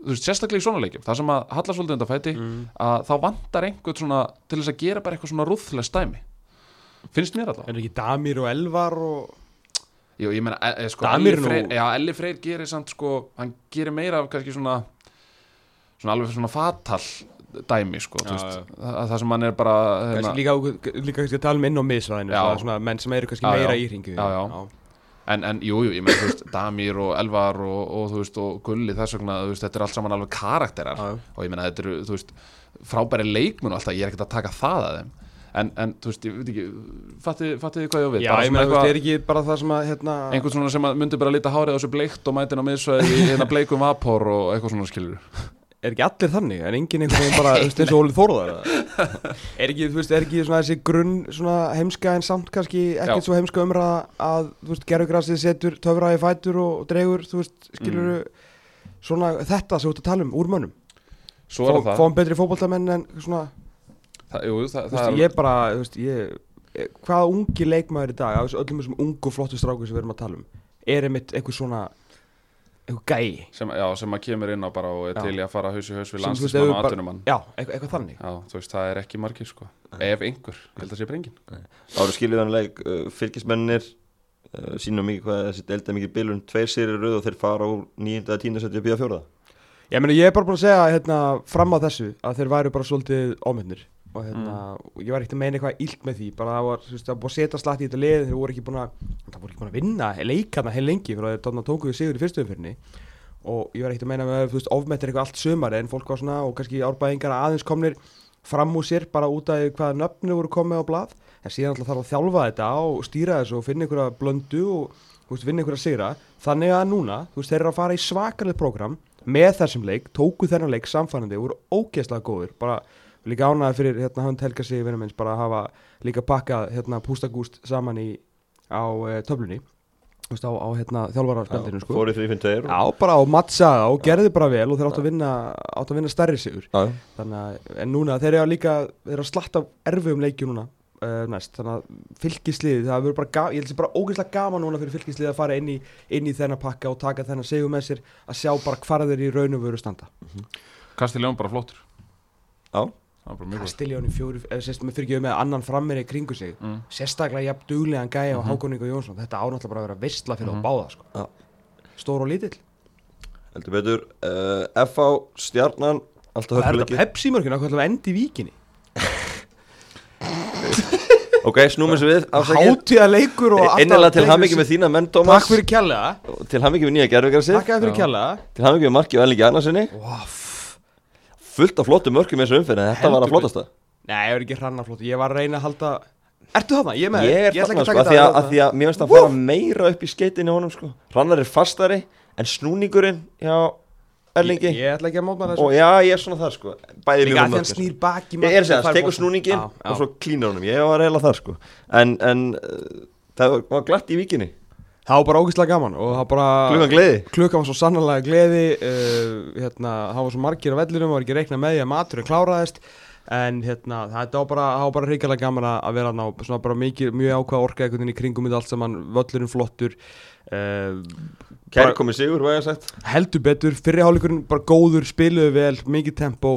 Speaker 3: þú veist, sérstaklega í svona leikjum, það sem að halla svolítið undan fæti, að þá vandar einhvern svona, til þess að gera bara eitthvað svona rúðlega stæmi, finnst mér allavega
Speaker 2: Er ekki Damir og Elvar og
Speaker 3: Jú, ég meina, e, e, sko,
Speaker 2: Damir
Speaker 3: Elli
Speaker 2: nú-
Speaker 3: Freyr, já, Elli Freyr gerir samt, sko, hann gerir meira af kannski svona, svona alveg svona fatal dæmi, sko,
Speaker 2: Já,
Speaker 3: þú veist, það, það sem hann er bara,
Speaker 2: Kannski
Speaker 3: hérna,
Speaker 2: líka, líka kannski að tala um inn á miðsvæðinu
Speaker 3: Já.
Speaker 2: svona- Svona menn sem eru kannski
Speaker 3: Já, já.
Speaker 2: meira í hringu
Speaker 3: Já, já. en, en, jú, jú, ég meina, þú veist, Damir og Elvar og, og, þú veist, og Gulli, þess vegna, þú veist, þetta er allt saman alveg karakterar
Speaker 2: Já, já.
Speaker 3: og ég meina, þetta eru, þú veist, frábæri leikmun og alltaf, ég er ekkert að taka það að þeim, en, en, þú veist, ég veit ekki, fattið þið hvað ég á við,
Speaker 2: Já,
Speaker 3: Bara
Speaker 2: ég
Speaker 3: svona
Speaker 2: meina, þú veist,
Speaker 3: eitthvað-
Speaker 2: er ekki bara það sem að, hérna
Speaker 3: einhvern svona sem að myndi bara líta hárið á þessu bleikt og mætin á miðsvæði í hérna bleikum vapor og eitthvað svona skilur
Speaker 2: er ekki allir þannig, en enginn einhvern veginn bara, þú veist, eins og Ólið Þórðar eða? er ekki, þú veist, er ekki svona þessi grunn svona heimska en samt kannski ekkert
Speaker 3: Já.
Speaker 2: svo heimska umræða að, þú veist, gerðugrasið setur töfraði fætur og, og dregur, þú veist, skilur
Speaker 3: Mm.
Speaker 2: svona þetta sem þú ert að tala um, úr mönnum
Speaker 3: Svo er það,
Speaker 2: fáum betri fótboltamenn en svona,
Speaker 3: það, jú, það,
Speaker 2: þú
Speaker 3: það
Speaker 2: veist,
Speaker 3: er,
Speaker 2: ég bara, þú veist, ég hvaða ungi leikmaður í dag, af þessu öllum þessum ungu flottu stráku sem við erum að tala um er einmitt eitthvað svona eitthvað gæi
Speaker 3: sem, já, sem að kemur inn á bara og er
Speaker 2: Já.
Speaker 3: til í að fara haus í haus
Speaker 2: Sem, þú veist,
Speaker 3: við
Speaker 2: ef
Speaker 3: landslismann
Speaker 2: við
Speaker 3: og
Speaker 2: bara-
Speaker 3: atvinnumann
Speaker 2: já, eitthvað, eitthvað þannig
Speaker 3: Já, þú veist, það er ekki margir sko Ef einhver, ég held að sé brengin
Speaker 1: Það eru skiljaðanleg uh, fylgismennir uh, sínum mikið hvað þessi delta mikið bilun tveir sérir rauð og þeir fara úr 9. að 10. setja upp í að fjóraða
Speaker 2: Ég meina, ég er bara búin að segja hérna, fram að þessu að þeir væru bara svolítið ómyndnir og hérna, og ég var ekkert að meina eitthvað illt með því bara það var, þú veist, það var búið að setja slatt í þetta lið þeir voru ekki búin að, það voru ekki búin að vinna leikana heil lengi fyrir að þeir þarna tóku við sigur í fyrstu umfyrinni og ég var ekkert að meina með, þú veist, ofmettir eitthvað allt sömari en fólk var svona, og kannski árbæðingar aðeins komnir fram úr sér bara út af hvaða nöfnu voru komið á blað en síðan alltaf þarf að þjálfa þetta og stýra þessu og finna einhverja blöndu og þú veist, vinna einhverja sigra þannig að núna, þú veist, þeir eru að fara í svakalegt program með þessum leik, tóku þennan leik samfærandi voru ógeðslega góðir bara líka ánæði fyrir hérna hann telka sig vinna minns bara að hafa líka pakkað hérna pústagúst saman í á uh, töflunni þú veist, á, á hérna þjálfararspjaldinu sko.
Speaker 1: Fórið 3-5-2
Speaker 2: Já, bara og mattsaða og gerði bara vel og þeir áttu að vinna, áttu að vinna stærri sigur
Speaker 1: Já,
Speaker 2: þannig að, en núna þeir eru að líka þeir eru að slatta af erfiðum leikjum núna uh, næst, þannig að fylgisliðið það verður bara, ga- ég held sér bara ógeðslega gaman núna fyrir fylgisliðið að fara inn í, inn í þennan pakka og taka þennan sigur með sér að sjá bara hvar þeir í raun og veru standa
Speaker 3: Kastiljón bara flottur
Speaker 1: Já.
Speaker 3: Það var bara mjög flottur
Speaker 2: Kastiljóni fjóri, eða sérst með fyrirgjöðu með annan frammir í kringu sig,
Speaker 3: Mm.
Speaker 2: sérstaklega jafn duglegan gæja og Hákon Ingo Jónsson, þetta ánáttúrulega bara að vera vistla fyrir mm
Speaker 3: Mhm.
Speaker 2: -hmm. báða sko.
Speaker 1: Já.
Speaker 2: stór og lítill,
Speaker 1: heldur betur uh, FH, Stjarnan, alltaf
Speaker 2: það er þetta
Speaker 1: hörkuleiki
Speaker 2: Pepsi mörgin hvað ætlum við að enda í víkinni,
Speaker 1: Ok, snúmum sem við, afsakið
Speaker 2: hátíða leikur og
Speaker 1: Einnilega til hammingi með þína menn, Tómas
Speaker 2: Takk fyrir kjallega,
Speaker 1: Og Til hammingi með nýja gerðvigarsitt
Speaker 2: takk fyrir
Speaker 3: Já.
Speaker 2: kjallega
Speaker 1: Til hammingi með Marki og Ellingi Arnarssoni
Speaker 2: Voff
Speaker 1: Fullt af flottum mörkum í þessu umfyrir Þetta var
Speaker 2: Heldur
Speaker 1: að flottasta
Speaker 2: Nei, ég var ekki hrannaflótt, ég var að reyna að halda Ertu þarna? Ég er með
Speaker 1: Ég er
Speaker 2: ætla
Speaker 1: þarna
Speaker 2: ekki
Speaker 1: sko, að
Speaker 2: taka
Speaker 1: því að,
Speaker 2: þetta
Speaker 1: að því að mér finnst að
Speaker 2: Vú!
Speaker 1: fara meira upp í skeitinu honum sko Hrannar er fastari, en snúningurinn hjá Erlingi
Speaker 2: Ég, ég ætla ekki að mótmæla þessu
Speaker 1: Og já, ég er svona þar sko Bæði mjög
Speaker 2: Líka að því hann
Speaker 1: mörg
Speaker 2: snýr baki
Speaker 1: Ég er að segja, það tekur snúningin og svo klínar honum Ég var eiginlega þar sko En, en uh, það var- var glatt í vikinni
Speaker 2: Það var bara ógeðslega gaman og það bara
Speaker 1: Klukkan gleði
Speaker 2: Klukkan var svo sannlega gleði uh, hérna, Það var svo margir á vellinum og var ekki reikna með því að maturinn kláraðist En hérna, þetta var bara, það var bara hrikalega gaman að að vera ná Svona bara mikið, mjög ákvað orka einhvern veginn í kringum þetta allt saman Völlurinn flottur uh,
Speaker 1: Kæri komið sigur, hvað ég sagt
Speaker 2: heldur betur, fyrirháleikurinn bara góður, spiluðu vel, mikið tempó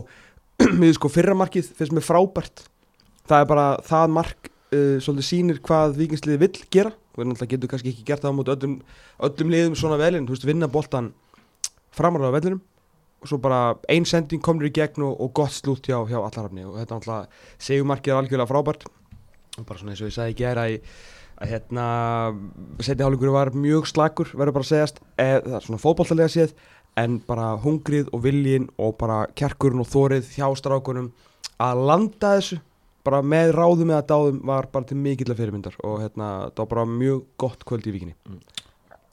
Speaker 2: mér sko fyrramarkið finnst mér frábært það er bara það mark uh, svolítið sýnir hvað vikingsliði vill gera og við náttúrulega getur kannski ekki gert það á móti öllum, öllum liðum svona vel en þú veist vinna boltan framarlega á vellinum og svo bara ein sending komur í gegn og, og gott slútt hjá, hjá allarafni og þetta náttúrulega segumarkið er algjörlega frábært og bara svona eins og ég sagði í gera í að hérna setja hálfingur var mjög slakur verður bara að segjast eð, það er svona fótballtalega séð en bara hungrið og viljin og bara kjarkurinn og þórið hjá strákunum að landa þessu bara með ráðum eða dáðum var bara til mikill fyrirmyndar og hérna það var bara mjög gott kvöld í vikinni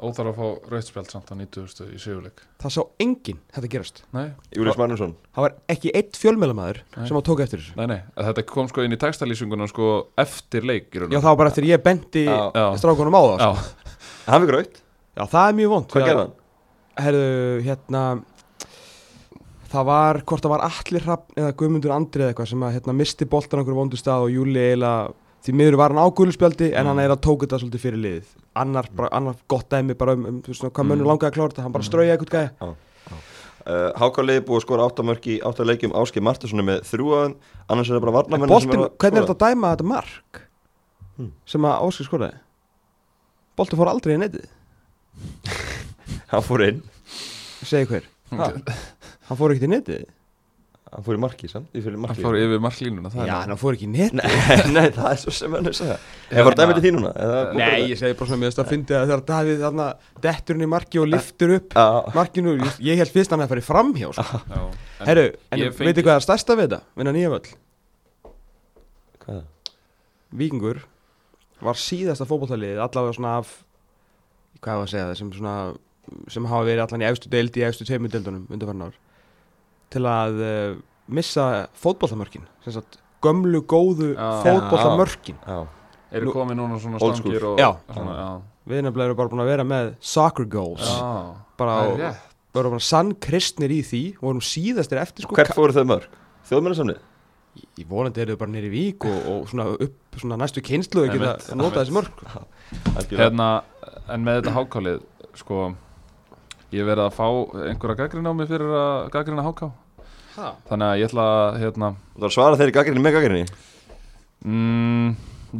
Speaker 3: Óþarf að fá rauðspjald samt á 90. í sigurleik
Speaker 2: það sá enginn þetta gerast
Speaker 3: Nei,
Speaker 1: Július Magnússon
Speaker 2: það var ekki eitt fjölmjölamæður
Speaker 3: Nei.
Speaker 2: sem að tóka eftir þessu
Speaker 3: nei, nei, þetta kom sko inn í textalýsinguna sko eftir leik í raun
Speaker 2: já
Speaker 3: og
Speaker 2: það var bara eftir ég bendi
Speaker 1: Já.
Speaker 3: Já.
Speaker 2: strákunum á það sko.
Speaker 3: Já,
Speaker 1: Hann fikk raut,
Speaker 2: já það er mjög vond
Speaker 1: hvað gerði hann?
Speaker 2: Herðu, hérna Það var, hvort það var Allir Hrafn eða Guðmundur Andri eða eitthvað sem að hérna misti boltan okkur vondu stað og Júli eiginlega því miður var hann á guðluspjaldi en
Speaker 3: Mm.
Speaker 2: hann eiginlega tók þetta svolítið fyrir liðið annar, bara, annar gott dæmi bara um, um þú veist, hvað
Speaker 3: Mm.
Speaker 2: mönnum langaði að klára þetta hann bara strauja eitthvað gæja
Speaker 1: Uh, Hákáliði búið að skora 8 mörg í 8 leikjum Áskei Martinssoni með þrjúaðan annars er það bara
Speaker 2: En
Speaker 1: varnamenn
Speaker 2: boltin, hvernig er þetta að dæma þetta mark
Speaker 1: Mm.
Speaker 2: sem að Óskar skoraði Boltin fór aldrei í netið,
Speaker 1: Hann fór inn,
Speaker 2: segi hver
Speaker 3: Ha.
Speaker 2: Hann fór ekkert í netið
Speaker 1: hann fór í marki samt Í fyrir
Speaker 3: hann
Speaker 1: marki
Speaker 3: fór yfir marklínuna það er
Speaker 2: Já,
Speaker 3: nú-
Speaker 2: hann fór ekki í netið
Speaker 1: Nei, nei, það er svo sem hann er að segja Hefur það dæmið til þín núna? Eða-
Speaker 2: Nei, ég segi bara svona, mér finnst að fyndi að þegar Davíð þarna dettur hann í marki og liftur upp
Speaker 1: Já,
Speaker 2: markinu, ég- ég held fyrst að hann að fara í framhjá sko.
Speaker 3: Já, en
Speaker 2: Herru, en
Speaker 3: ég fengi-
Speaker 2: veitu hvað er stærsta við þetta? Vinna nýja völl,
Speaker 1: hvað?
Speaker 2: Víkingur var síðasta fótballtalið allavega svona af hvað var að segja það, sem svona sem hafa verið allan í efstu deild í efstu tveimur deildunum undanfarnar ár til að uh, missa fótballtamörkin sem sagt, gömlu góðu
Speaker 3: Já.
Speaker 2: fótballtamörkin
Speaker 1: Já,
Speaker 3: eru
Speaker 2: nú-
Speaker 3: komið núna svona
Speaker 1: Old
Speaker 3: stangir og
Speaker 2: Já.
Speaker 3: svona, já,
Speaker 2: við nefnilega erum bara búin að vera með soccer goals
Speaker 3: já
Speaker 2: bara
Speaker 3: Ah. það
Speaker 2: og
Speaker 3: er rétt.
Speaker 2: við erum bara sann kristnir í því og vorum síðastir eftir sko
Speaker 1: hvert fóru þau mörg? Þjóðmennarsamni?
Speaker 2: Ég vonandi eru þau bara nýri vík og, og svona upp svona næstu kynslu að
Speaker 3: Einmitt,
Speaker 2: geta nota þessi mörg
Speaker 3: hérna, en með þetta hákálið sko ég hef verið að fá einhverja gaggrinn á mig fyrir að gaggrina háká
Speaker 2: ha.
Speaker 3: þannig að ég ætla að hérna,
Speaker 1: Það var að svara þeirri gaggrinni með gaggrinni
Speaker 3: mm,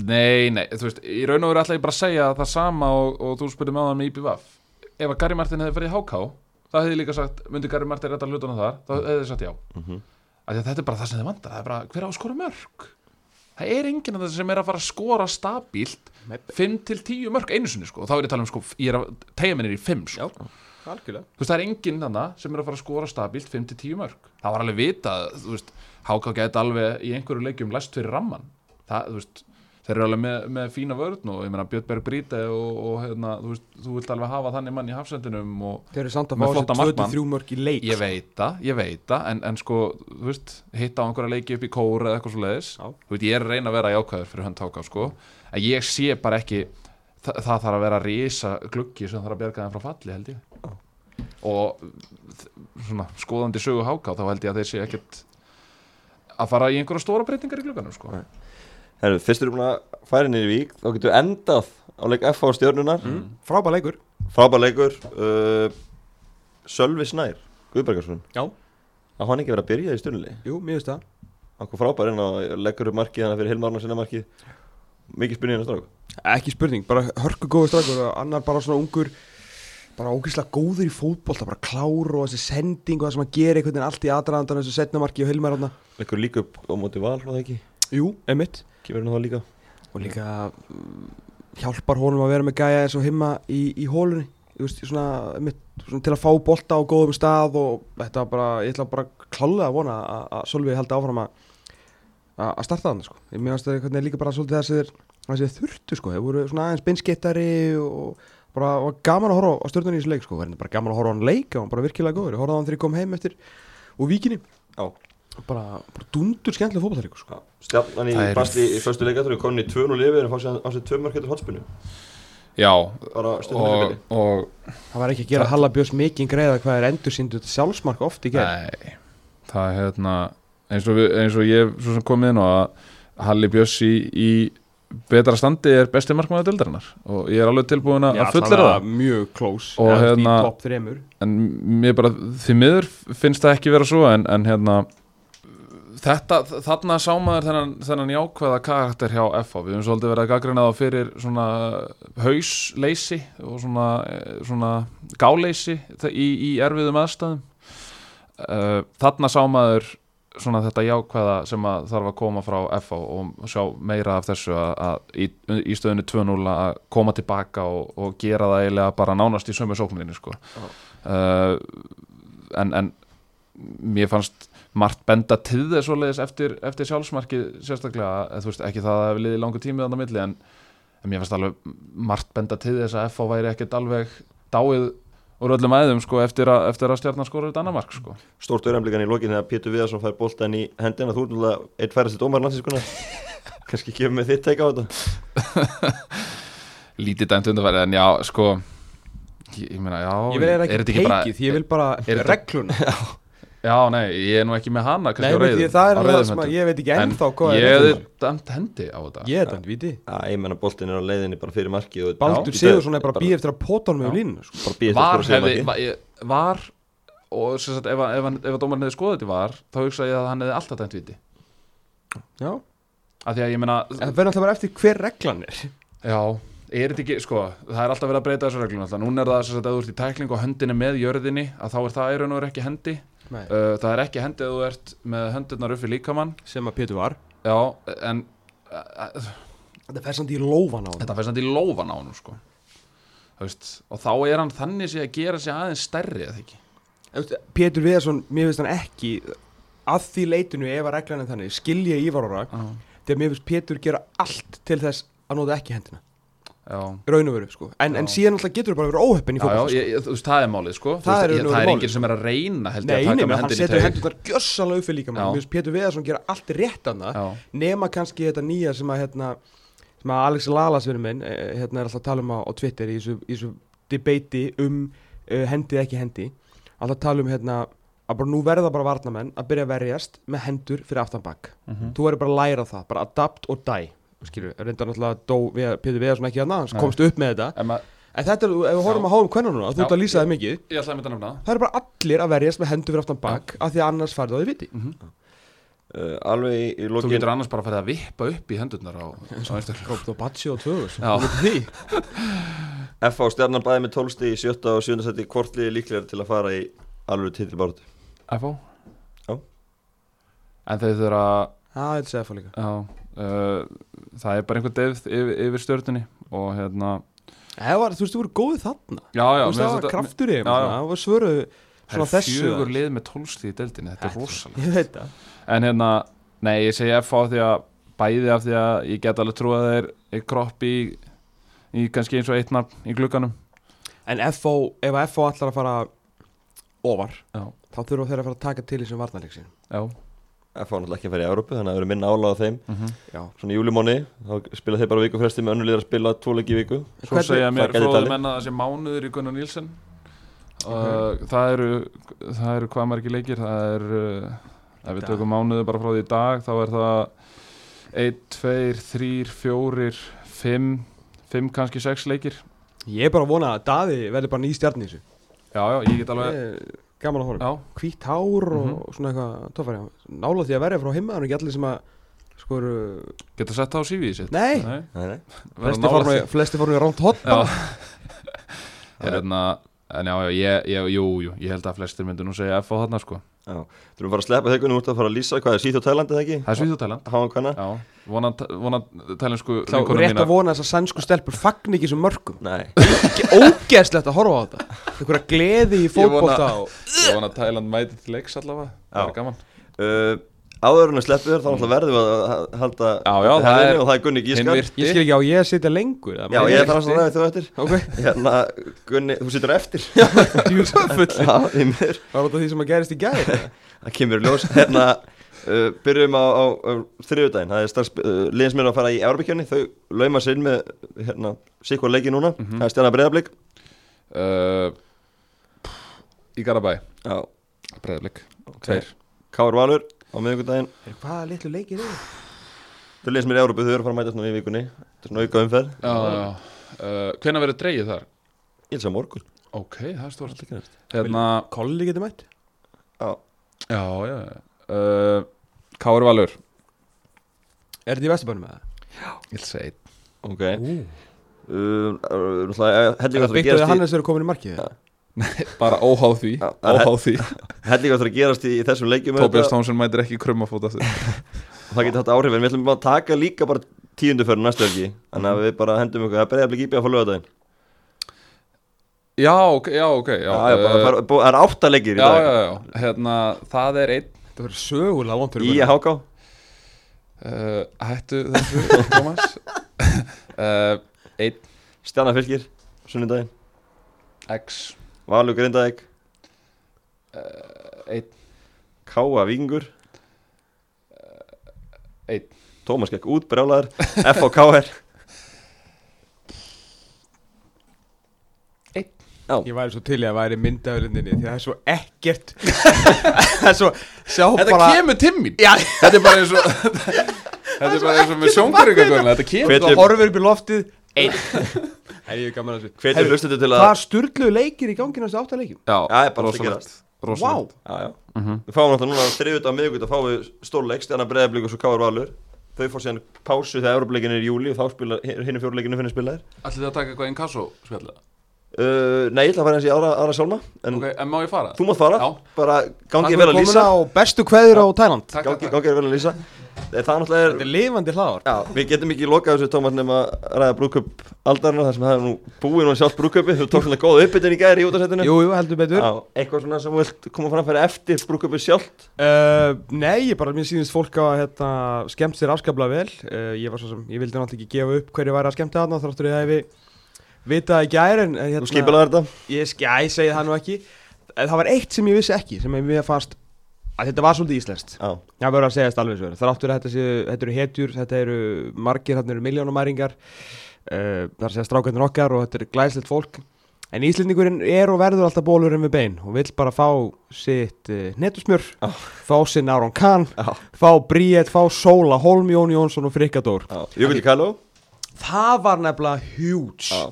Speaker 3: nei, nei, þú veist í raun og veru ætla ég bara að segja það sama og, og þú spurði með á það með IPVAF ef að Gary Martin hefði farið í háká það hefði ég líka sagt, myndi Gary Martin rétta hlutuna þar þá hefði ég sagt já af því að þetta er bara það sem þið vantar það er bara hver á að skora mörg það er enginn af þessu sem er að fara að skora stabílt
Speaker 2: Nei.
Speaker 3: 5 til 10 mörg einu sinni sko. og þá er ég að tala um sko, ég er að tegja minn er í 5 sko.
Speaker 2: algjörlega
Speaker 3: þú veist það er enginn þarna sem er að fara að skora stabílt 5 til 10 mörg það var alveg vita þú veist Háká gæti alveg í einhverju leikjum læst fyrir ramman það, þú veist Þeir eru alveg með, með fína vörðn og ég meina Björnberg Bríte og, og hérna, þú, veist, þú vilt alveg hafa þannig mann í hafsendinum og,
Speaker 2: Þeir eru samt að
Speaker 3: Með
Speaker 2: fá
Speaker 3: flotta
Speaker 2: þessi
Speaker 3: markmann.
Speaker 2: 23 mörg í leik
Speaker 3: Ég veit það, ég veit það en, en sko, þú veist, hitta á einhverja leiki upp í kór eða eitthvað svo leiðis
Speaker 2: Já.
Speaker 3: Þú veit, ég er að reyna að vera jákvæður fyrir hönd háká sko En ég sé bara ekki það, það þarf að vera risa gluggi sem þarf að bjarga þeim frá falli held ég Og þ- svona, skoðandi sögu háká þá held ég að þeir sé ekkert að fara í einhverja stóra breytingar í glugganum sko
Speaker 1: Nei. Herru, fyrst erum við búin að færa niður í vík Þá getum við endað á leik F á stjörnunar mm.
Speaker 2: Frábæð leikur
Speaker 1: Frábær leikur uh, Sölvi Snær, Guðbergarsson
Speaker 2: Já.
Speaker 1: Að hann ekki verið að byrja í stjörnuli
Speaker 2: Jú, mér finnst það
Speaker 1: Akkur frábær en að leggur upp markið hann fyrir Hilmarna sinna markið Mikið spynni hennar strák
Speaker 2: Ekki spurning, bara hörku góður strákur og annar bara svona ungur bara ógeðslega góður í fótbolta, bara klár og þessi sending og það sem að gera einhvern veginn allt í aðræðandan þessu setnamarki og heilmar hana
Speaker 1: Leggur líka upp á móti val og það ekki
Speaker 2: Jú, emitt
Speaker 1: Kemur hann þá líka
Speaker 2: og líka mm, hjálpar honum að vera með gæja eins og himma í, í hólunni Þú veist, svona, mitt, svona til að fá bolta á góðum stað og þetta var bara, ég ætla bara klálega að vona að, að Solvi haldi áfram að að að starta þannig sko ég meðast að hvernig líka bara svolítið þessi þessi þurftu sko, þeir voru svona aðeins beinskittari og bara var gaman að horfa á stjórnunni í þessu leik sko, verðin bara gaman að horfa á hann leik og hann bara virkilega góður, ég horfaði á hann þegar ég kom heim eftir og vikinni,
Speaker 1: Já.
Speaker 2: bara, bara dundur skemmtilega fótballtaríku sko
Speaker 1: Stjarnan í
Speaker 3: Það eru-
Speaker 1: basti í fyrstu leikatur Komin í 2-0 yfir en fá sér á sér 2 mörk eftir hotspinnu
Speaker 3: Já,
Speaker 1: Bara
Speaker 3: og,
Speaker 1: stjörnuleikari
Speaker 3: og
Speaker 2: Það var ekki að gera Halla Björns mikinn greiða hvað er endursýndu þetta sjálfsmark oft í gerð.
Speaker 3: Nei, það er hérna eins og, við, eins og ég hef svo sem komið inn á að Halli Björns í, í betra standi er besti markmaður dildarinnar og ég er alveg tilbúin að fullera það
Speaker 2: Mjög klós.
Speaker 3: Og
Speaker 2: eða þú veist,
Speaker 3: hérna-
Speaker 2: Í topp þremur.
Speaker 3: en mér bara því miður finnst það ekki vera svo en, en hérna þetta, þarna sá maður þennan, þennan jákvæða karakter hjá FH við höfum svolítið verið að gaggrina þá fyrir svona hausleysi og svona, eh, svona gáleysi þa- í, í erfiðum aðstæðum uh, þarna sá maður svona þetta jákvæða sem að þarf að koma frá FH og sjá meira af þessu að, að í, í stöðinu 2-0 að koma tilbaka og, og gera það eiginlega bara nánast í sömu sókninni sko uh, en, en mér fannst margt benda til þess svoleiðis eftir, eftir sjálfsmarkið sérstaklega, eða þú veist ekki það að það hefur liðið langu tími þannig að milli en, en mér fannst alveg margt benda til þess að FH væri ekkert alveg dáið úr öllum æðum sko eftir að, eftir að stjarnar skora eitt annað mark sko.
Speaker 1: Stórt öðramblikan í lokin þegar Pétur Viðarsson fær boltan í hendina Þú er náttúrulega eitt færasti dómar landsinskunar Kanski gefur mig þitt teika á þetta
Speaker 3: lítið dæmt undarfæri en já sko ég, ég meina já
Speaker 2: Ég vil eða ekki
Speaker 3: er þetta
Speaker 2: teikið,
Speaker 3: bara-
Speaker 2: ég vil bara
Speaker 3: þetta-
Speaker 2: regluna.
Speaker 3: já nei ég er nú ekki með hana
Speaker 2: Nei,
Speaker 3: kannski á
Speaker 2: veit
Speaker 3: reyðum
Speaker 2: ég, það er
Speaker 3: á
Speaker 2: það
Speaker 3: reyðum
Speaker 2: sem að
Speaker 3: höndum.
Speaker 2: ég veit ekki ennþá hvað
Speaker 3: en
Speaker 2: er
Speaker 3: ég
Speaker 2: reglurnar.
Speaker 3: er dæmt hendi á þetta
Speaker 2: Ég er þetta viti.
Speaker 1: Já, ég menna boltin er á leiðinni bara fyrir marki og
Speaker 2: Baldur
Speaker 1: Já,
Speaker 2: Sigurðsson er bara
Speaker 1: bara-
Speaker 2: býð eftir að pota hann með línu. sko.
Speaker 1: bara býðist
Speaker 3: var
Speaker 1: að skora
Speaker 3: hefði,
Speaker 1: sér marki
Speaker 3: var, ég- var og sem sagt, ef, að- ef, hann- ef að dómarinn hefði skoðið þetta var þá hugsa ég að hann hefði alltaf dæmt viti
Speaker 2: Já.
Speaker 3: af því að ég meina,
Speaker 2: En það verður alltaf bara eftir hver reglan er.
Speaker 3: já er þetta ekki, sko, það er alltaf verið að breyta þessu reglum alltaf, núna er það sem sagt, ef þú ert í tæklingu og höndin er með jörðinni, að þá er það í raun og er ekki hendi,
Speaker 2: Nei.
Speaker 3: uh, það er ekki hendi ef þú ert með höndirnar upp fyrir líkamann
Speaker 2: Sem að Pétur var.
Speaker 3: já, en uh,
Speaker 2: Þetta fer samt í lófan á hann.
Speaker 3: þetta fæst hann í lófan á hann sko, þú veist og þá er hann þannig sé að gera sig aðeins stærri eða ekki,
Speaker 2: Pétur Viðarsson, mér finnst hann ekki að því leitinu ef að reglan er þannig skilja Ívarora þegar mér finnst Pétur gera allt til þess að nota ekki hendina
Speaker 3: já
Speaker 2: raun og veru sko. en, en
Speaker 3: Já.
Speaker 2: síðan alltaf getur þú bara verið óheppin í
Speaker 3: Já, já,
Speaker 2: fótbolta
Speaker 3: ég, ég, þú veist, það er málið, sko Þú
Speaker 2: Það
Speaker 3: veist,
Speaker 2: er í
Speaker 3: ég,
Speaker 2: raun og
Speaker 3: það
Speaker 2: veru
Speaker 3: er
Speaker 2: málið.
Speaker 3: enginn sem er að reyna held
Speaker 2: Nei,
Speaker 3: ég að
Speaker 2: nei,
Speaker 3: taka
Speaker 2: menn,
Speaker 3: með
Speaker 2: hann
Speaker 3: hendin í
Speaker 2: setur
Speaker 3: taug
Speaker 2: hendurnar gjössalega upp fyrir líka
Speaker 3: Já.
Speaker 2: mér finnst Pétur Viðarsson gera allt rétt annað
Speaker 3: Já,
Speaker 2: nema kannski þetta nýja sem að hérna, sem að Alex Lalas vinur minn eh, hérna er alltaf að tala um á, á Twitter í þessu, í þessu debati um uh, hendi eða ekki hendi alltaf að tala um hérna að bara nú verða bara varnamenn að byrja að verjast með hendur fyrir aftan bak
Speaker 3: Mhm.
Speaker 2: þú verður bara að læra það, bara adapt og die skilur, reyndar náttúrulega dó við, Pétur Viðarsson ekki hérna, hans
Speaker 3: Nei.
Speaker 2: komst upp með þetta
Speaker 3: en maður,
Speaker 2: en þetta er, ef við horfum að háum hvernig núna, þú
Speaker 3: Já.
Speaker 2: ert að lýsa það mikið
Speaker 3: ég ætlaði að mynda að nefna það.
Speaker 2: það eru bara allir að verjast með hendur fyrir aftan bak af því að annars færðu á því viti
Speaker 3: Mm.
Speaker 1: Uh, Alveg í, í
Speaker 3: Þú
Speaker 1: lokin
Speaker 3: getur annars bara að fara að vippa upp í hendurnar á, á einstaklega
Speaker 2: Gópt og batsi og tvöður
Speaker 3: Já.
Speaker 1: F á stjarnan bæði með 12 stig í sjötta og sjönda seti hvort liði líklegar til að fara í alveg titilbáratu
Speaker 3: FO?
Speaker 1: Já.
Speaker 3: en þeir þurfa
Speaker 2: Það er sefa líka
Speaker 3: já, uh, það er bara einhver deyfð yfir, yfir stjörnunni og hérna
Speaker 2: Það var, Þú veist, þú voru góð þarna
Speaker 3: já, já,
Speaker 2: Þú veist, það var kraftur í þeim
Speaker 3: Já, já.
Speaker 2: Það var svöruð
Speaker 3: svona
Speaker 2: svona
Speaker 3: þessu
Speaker 2: þessu
Speaker 3: fjögur lið með tólstíð í deildinni, þetta er rosalega
Speaker 2: Ég veit það
Speaker 3: en hérna, nei, ég segi F á því að bæði af því að ég get alveg trú að þeir er kropp í, í kannski eins og eitt nafn í glugganum
Speaker 2: En FO, ef að FO allar að fara ofar
Speaker 3: Já.
Speaker 2: þá þurfa þeir að fara að taka til þessum varnarleiksin
Speaker 3: já,
Speaker 1: FH náttúrulega ekki að fara í Európu þannig að það verður minna álag á þeim
Speaker 3: mm
Speaker 2: Já
Speaker 1: svona í júlimóni, þá spila þeir bara vikufresti með önnulegur að spila tvo leiki í viku
Speaker 3: svo segja mér
Speaker 1: það gæti
Speaker 3: fróðum
Speaker 1: talið.
Speaker 3: menna að það sé mánuður í Gunnar Nílsen uh, það eru það eru hvað margir leikir það er, uh, ef við
Speaker 2: Dag.
Speaker 3: tökum mánuður bara frá því í dag þá er það 1, 2, 3, 4 5, 5 kannski 6 leikir
Speaker 2: Ég er bara að vona að Daði verði bara ný stjarn í þessu
Speaker 3: já, já, ég get alveg
Speaker 2: Ég er Gaman að horfa
Speaker 3: já,
Speaker 2: Hvítt hár og
Speaker 3: Mhm.
Speaker 2: svona eitthvað Tófari, nála því að verja frá heima Það er ekki allir sem að sko eru
Speaker 3: geta sett það á CV-ið sitt
Speaker 2: Nei,
Speaker 3: Nei,
Speaker 1: Nei, nei.
Speaker 3: verða
Speaker 2: flesti
Speaker 3: nálægt
Speaker 2: fórum í- flesti fórum í rámt hot
Speaker 3: Já Hérna En já, já, ég, ég, jú, jú, ég held að flestir myndu nú segja F á þarna sko
Speaker 1: Þú erum bara að sleppa þeir kunum út að fara að lýsa hvað er Svíþjóð Tælandi eða
Speaker 3: Það er
Speaker 1: ekki?
Speaker 3: Svíþjóðtæland
Speaker 1: Háan hvenna?
Speaker 3: Já, vona, vona tælensku
Speaker 2: Þá er
Speaker 3: vinkonum
Speaker 2: rétt
Speaker 3: mínar
Speaker 2: að vona þess að sænsku stelpur fagn ekki sem mörgum
Speaker 1: Nei,
Speaker 2: Ekki ógeðslegt að horfa á þetta Einhverja gleði í fótbolta og
Speaker 3: Ég vona Tæland mæti til leiks allavega Það er gaman
Speaker 1: uh, áður en að sleppu þér þá náttúrulega verðum við að ha- halda
Speaker 3: Já, já, það
Speaker 1: hæðinni
Speaker 3: er-
Speaker 1: og það er Gunni
Speaker 3: Hinn
Speaker 1: Gískar
Speaker 2: Ég
Speaker 3: virti
Speaker 2: skil ekki á ég að sitja lengur
Speaker 1: Já, ég er það að ræða þú eftir
Speaker 2: Ok,
Speaker 1: Hérna, Gunni, þú situr eftir
Speaker 2: djúsafull
Speaker 1: Já, því mér
Speaker 2: Var þetta því sem að gerist í gæri?
Speaker 1: Það kemur í ljós Hérna, uh, byrjum á, á, á þriðudaginn Það er strax uh, liðins mér að fara í Európakjöfni Þau lauma sér inn með hérna, Sikvar leiki núna, það er stjarnar breyðablik
Speaker 3: uh, Í Garabæ
Speaker 1: Já,
Speaker 3: Breiðleik Tveir
Speaker 1: Kár Valur á miðvikudaginn
Speaker 2: Hvaða litlu leikir eru?
Speaker 1: Þau liðins mér í Európu, þau eru að fara að mæta svona í vikunni Þetta er svona auka umferð
Speaker 3: Já, já uh, Hvenær verður dreigið þar?
Speaker 1: Ég held sem morgun
Speaker 3: Ok, það er stórt
Speaker 1: Já,
Speaker 3: Hérna
Speaker 2: Kolli getur mætt
Speaker 3: Já, já uh, Kári Valur
Speaker 2: Er þetta í Vestabænum eða?
Speaker 3: Ég ætla að segja einn.
Speaker 1: ok
Speaker 2: Ú.
Speaker 1: Uh, náttúrulega,
Speaker 2: Er
Speaker 1: hellinga
Speaker 2: það
Speaker 1: þarf að
Speaker 2: byggt að
Speaker 1: gerast í
Speaker 2: Hannes eru komin í markið?
Speaker 1: Já.
Speaker 3: Bara óháð því
Speaker 1: Já, það er-
Speaker 3: Óháð því
Speaker 1: hellinga þarf að gerast í, í þessum leikjum
Speaker 3: Tobias
Speaker 1: auðvitað.
Speaker 3: Thompson mætir ekki krummafót aftur
Speaker 1: það getur þetta áhrif en við ætlum bara að taka líka bara tíundu fyrir næstu helgi þannig að við bara hendum ykkur að breyða blikið íbjöða fór lögadaginn
Speaker 3: Já, ok, já, ok já,
Speaker 1: það er bara-
Speaker 3: eh,
Speaker 1: það er bú- það er átta leikir í
Speaker 3: já,
Speaker 1: dag
Speaker 3: já, já, hérna, það er einn
Speaker 2: Það verður sögulega vond
Speaker 1: í
Speaker 2: fyrir
Speaker 1: HK
Speaker 3: uh, Hættu þessu, Thomas uh, Einn,
Speaker 1: Stjarnafylgir sunnudaginn
Speaker 3: X,
Speaker 1: Valur Grindæk
Speaker 3: einn
Speaker 1: Káa Víkingur
Speaker 3: Eh, einn.
Speaker 1: Tómas gekk út brjálæður FHKR
Speaker 2: Ég væri svo til í að væri myndafölinninni því það er svo ekkert Það er svo, sjá
Speaker 3: Þetta
Speaker 2: bara
Speaker 3: kemur til mín
Speaker 2: Já,
Speaker 3: Þetta er bara eins og Þetta er bara eins og með sjóngaringagöðuna Þetta kemur
Speaker 1: Hvetjum-
Speaker 2: það horfir upp í loftið Einn Það er gaman að þessu
Speaker 1: hvetur hlustendur til
Speaker 2: Það
Speaker 1: að
Speaker 2: er sturglu leikir í gangi næstu áttaleikum
Speaker 3: Já,
Speaker 1: það er bara að
Speaker 3: rosalegt,
Speaker 1: gerast.
Speaker 3: rosalegt.
Speaker 1: Já, já.
Speaker 3: Mhm.
Speaker 1: við fáum náttúrulega núna þriðut á miðugut að fáum við stórleik stjarnar breyðablik og svo Káar Valur þau fór síðan pásu þegar Európleikin er í júli og þá spila hinn fjóruleikinu finnir spilaðir
Speaker 3: Ætlið þið að taka eitthvað inkasso spjalla
Speaker 1: uh, Nei, ég ætla að fara eins í aðra, aðra sjálma en
Speaker 3: Ok, en má ég fara?
Speaker 1: þú mátt fara,
Speaker 3: Já.
Speaker 1: bara
Speaker 3: Takk
Speaker 1: gangi
Speaker 3: fyrir
Speaker 1: vel að lýsa
Speaker 2: á bestu kveður á Tæland
Speaker 3: Takk,
Speaker 1: gangi,
Speaker 3: takk, takk.
Speaker 1: gangi vel að lýsa Eh, það náttúrulega
Speaker 2: Þetta
Speaker 1: er
Speaker 2: er lifandi hláðar
Speaker 1: Já, við getum ekki lokað þessu Tómas nema að ræða brúköp aldarinnar þar sem það er nú búið nú sjálf brúköpi þú tók svona góð uppbytun í gæri í útasettinu
Speaker 2: Jú, jú, heldur betur
Speaker 1: Já, eitthvað svona sem þú vilt koma fram fyrir eftir brúköpi sjálft
Speaker 2: Uh, nei, ég bara, mér sýnist fólk að hérna, skemmt sér afskaplega vel uh, ég var svo sem, ég vildi náttúrulega ekki gefa upp hverju væri að skemmta þarna þráttur ég að við vitað í gær en
Speaker 1: Þú
Speaker 2: en, hérna,
Speaker 1: skipilaði þetta
Speaker 2: ég, sk- já, ég segi það nú ekki en það var eitt sem ég vissi ekki sem ég mér fannst að þetta var svolítið íslenskt
Speaker 1: Já,
Speaker 2: það verður að segja þetta alveg svo þráttur að þetta, séu, þetta eru hetjur, þetta eru margir þarna eru miljónumæringar uh, þar segja strákarnir okkar og þetta er glæslegt fólk en Íslendingurinn er og verður alltaf bólurinn við bein og vill bara fá sitt uh, netusmjör
Speaker 1: Já.
Speaker 2: fá sinn Aron Kahn
Speaker 1: já,
Speaker 2: fá Bríett, fá Sóla, Holm Jón Jónsson og Frikadór
Speaker 1: já Jökull Kalló
Speaker 2: það var nefnilega huge
Speaker 1: Já,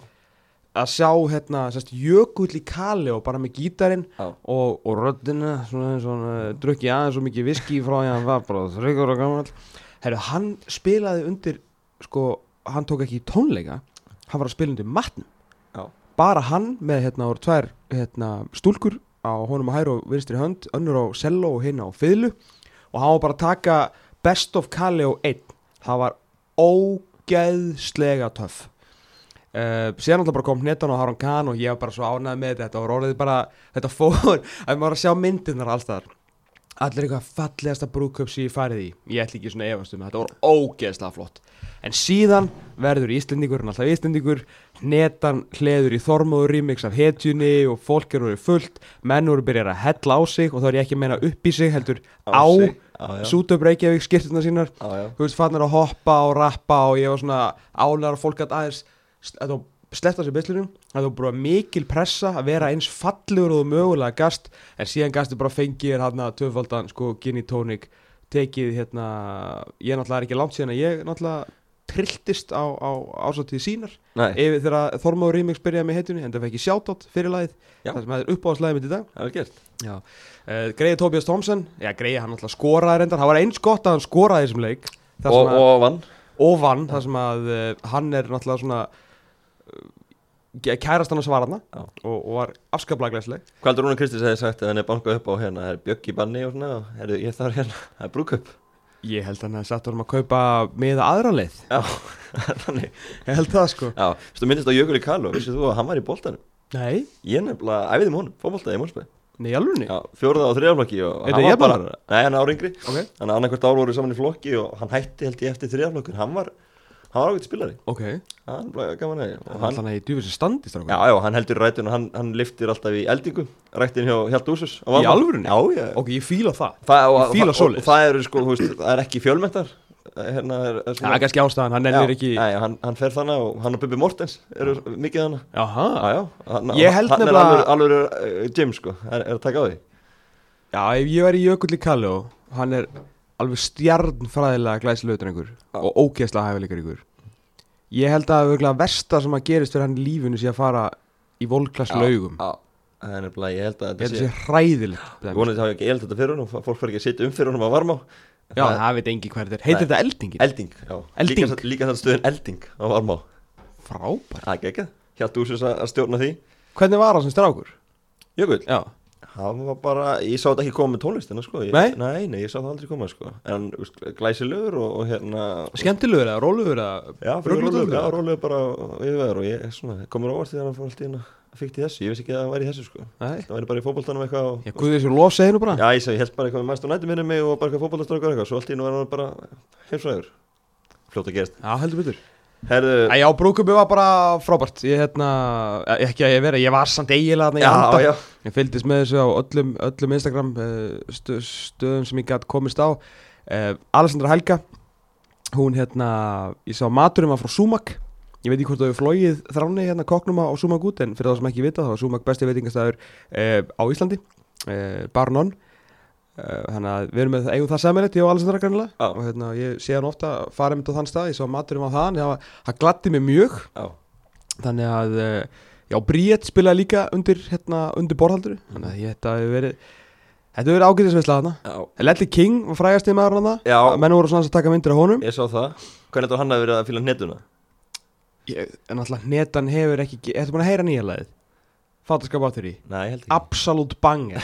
Speaker 2: að sjá hérna sérst, jökull í kali og bara með gítarinn
Speaker 1: Já.
Speaker 2: og, og röddina svona, svona, drukki aðeins svo mikið viski frá því að hann var bara þryggur og gammal herru, hann spilaði undir sko, hann tók ekki tónleika hann var að spila undir matnum
Speaker 1: Já.
Speaker 2: bara hann með hérna voru tvær hérna, stúlkur á honum að hæru og vinstri hönd önnur á cello og hinn á fiðlu og hann var bara að taka best of Kaleo 1 það var ógeðslega töff Uh, síðan alltaf bara kom hnetan og Haran Khan og ég var bara svo ánægð með þetta og orðið bara, þetta fór að maður var að sjá myndirnar allstar allir eitthvað fallegasta brúköp sem ég farið í ég ætla ekki svona að efast um það, þetta voru ógeðslega flott en síðan verður Íslendingurinn alltaf Íslendingur hnetan hleður í þormóður remix af hetjunni og fólk eru orðið fullt menn eru byrjar að hella á sig og þá er ég ekki að meina upp í sig heldur á,
Speaker 1: sig. Á, já.
Speaker 2: á Sútöp Reykjavík skirtuna sínar
Speaker 1: Á, já.
Speaker 2: þú veist, fannar að hoppa og rappa og ég var svona álæðar að fólk að aðeins að þú sletta sér byslunum að þú bara mikil pressa að vera eins fallegur og þú mögulega gast en síðan gastu bara fengið þér hérna töfaldan sko gin í tónik tekið hérna ég náttúrulega er ekki langt síðan að ég náttúrulega trilltist á, á ásáttíð sínar
Speaker 1: Nei,
Speaker 2: ef þegar Þormáður Rímix byrjaði með heitunni en það fekk ég sjátt fyrir lagið
Speaker 1: Já.
Speaker 2: það sem hefði uppáðslæðið mitt í dag
Speaker 1: það er gert
Speaker 2: Já, uh, greiði Tobias Thompson Já, greiði hann alltaf skoraði reyndar Það var eins gott að hann skoraði í þessum leik þar
Speaker 1: og,
Speaker 2: sem að,
Speaker 1: og vann
Speaker 2: og vann, þar sem að uh, hann er náttúrulega svona uh, kærast hann að svara hann
Speaker 1: Já.
Speaker 2: og, og var afskaplega glæsleg
Speaker 1: Hvað heldur Rúnar Kristins hefði sagt að hann er bankað upp á hérna Það er bjögg í banni og svona og heyrðu, Ég þarf hérna, það er brúköp
Speaker 2: Ég held hann að setja hann að kaupa með aðra leið
Speaker 1: Já, þannig
Speaker 2: Ég held það sko
Speaker 1: Já, þú minnist á Jökul í Kalu Vissið þú að hann var í boltanum
Speaker 2: Nei,
Speaker 1: Ég nefnilega æfði með honum, fótboltaði í Mónsbæ
Speaker 2: nei, alveg
Speaker 1: Já, fjórða og þriðaflokki og
Speaker 2: Er
Speaker 1: hann
Speaker 2: þetta
Speaker 1: var bara
Speaker 2: jafnaldrar?
Speaker 1: Nei, hann er árengri
Speaker 2: Ok,
Speaker 1: Þannig að annarkvært ár voru saman í flokki og hann hætti held ég eftir þriðaflokkun Hann var, hann var ágætt spilari
Speaker 2: ok
Speaker 1: Hann var gaman að og
Speaker 2: Hann
Speaker 1: hann,
Speaker 2: alltaf hann í djúfisir standi
Speaker 1: já,
Speaker 2: strákur
Speaker 1: já, hann heldur rætun og hann, hann liftir alltaf í eldingu Rættin hjá Hjalt Úsus
Speaker 2: Í alvörunni?
Speaker 1: Já, já
Speaker 2: Ok, ég fíla það
Speaker 1: Það, og,
Speaker 2: Ég fíla
Speaker 1: og, og, og
Speaker 2: svoleiðis.
Speaker 1: það eru sko, þú veist, það er ekki fjölmenntar Hérna er, er
Speaker 2: Það er kannski ástæðan, hann ennir ekki
Speaker 1: Nei, hann, hann fer þannig og hann og Bubi Mortens eru mikið þannig
Speaker 2: Jaha,
Speaker 1: Já, já, hann,
Speaker 2: Ég held
Speaker 1: hann
Speaker 2: nefnilega-
Speaker 1: er alveg, alveg uh, gym sko, er, er að taka á því
Speaker 2: Já, ef ég væri Jökull í Kalló Hann er alveg stjarnfræðilega glæsilöður einhver Og ógeðslega hæfileikar einhver Ég held að það er versta sem að gerist fyrir hann í lífinu sé að fara í volklass laugum
Speaker 1: Já, það er nefnilega, ég held að
Speaker 2: Ég
Speaker 1: þetta
Speaker 2: held að það
Speaker 1: sé
Speaker 2: sé hræðilegt
Speaker 1: Ég
Speaker 2: dæmi.
Speaker 1: vonið að það hafi ekki eld þetta fyrir hún og fólk fær ekki að sitja um fyrir hún að varmá
Speaker 2: Já, það veit engi hvað þetta er Heitir
Speaker 1: Nei.
Speaker 2: þetta eldingin?
Speaker 1: Elding, já
Speaker 2: Elding.
Speaker 1: Líka, líka þann stöðin elding á varmá
Speaker 2: Frábær
Speaker 1: Það er ekki Hjátt úr sem að stjórna því
Speaker 2: Hvernig var hann sem strákur?
Speaker 1: Jökull
Speaker 2: Já
Speaker 1: Hann var bara, ég sá þetta ekki koma með tónlistina sko ég,
Speaker 2: Nei?
Speaker 1: Nei, nei, ég sá það aldrei koma sko En þú veist, glæsilegur og, og hérna
Speaker 2: Skemmtilegur eða rólugur eða
Speaker 1: Já, fyrir
Speaker 2: Ruglulegur?
Speaker 1: rólegur Já, rólegur bara yfirveður og ég svona, komur óvart því að hann fór allt í hérna Fikk til þessu, ég vissi ekki að hann væri í þessu sko
Speaker 2: Nei
Speaker 1: Það væri bara í fótboltanum eitthvað og,
Speaker 2: Já, guðið sér lof seginu bara
Speaker 1: Já, ég sagði, ég held bara eitthvað með mæst og nætti minni mig og bara eitthvað fótbollastöðar eitthvað Svo allt í nú er hann bara heimsvæður Fljótt að gerast
Speaker 2: Já, heldur betur
Speaker 1: Herðu,
Speaker 2: Æ, Já, brúkubi var bara frábært Ég hérna, ekki að ég vera, ég var samt eiginlega þarna í
Speaker 1: já,
Speaker 2: anda.
Speaker 1: já,
Speaker 2: Ég fylgdist með þessu á öllum, öllum Instagram eh, stö, stöðum sem ég gætt komist á uh, Alessandra Helga Hún hérna, ég sá maturinn var frá Sumac Ég veit ekki hvort það hefur flóið þráni hérna kokknuma á Sumac út En fyrir það sem ekki vita þá var Sumac besti veitingastæður uh, á Íslandi uh, Bar none Eh, Þannig að við erum með eigum það samanlegt, ég og Alessandra grannlega
Speaker 1: Já.
Speaker 2: Og hérna, ég sé hann ofta fara einmitt á þann stað Ég sá maturinn var þaðan, það, var- það gladdi mig mjög
Speaker 1: já,
Speaker 2: þannig að eh, já, Bríett spilaði líka undir, hérna, undir borðhaldur þannig að ég- þetta hefur verið þetta hefur verið ágætisveisla þarna
Speaker 1: já,
Speaker 2: Lelli King var frægast í maður hann
Speaker 1: Já.
Speaker 2: menn voru svona aðeins að taka myndir af honum
Speaker 1: ég sá það Hvernig heldur hann hafi verið að fíla hnetuna?
Speaker 2: ég, en alltaf netan hefur ekki ge- ertu búin að heyra nýja lagið? Fataskap á þeirri
Speaker 1: Nei, ég held ekki
Speaker 2: Absolute banger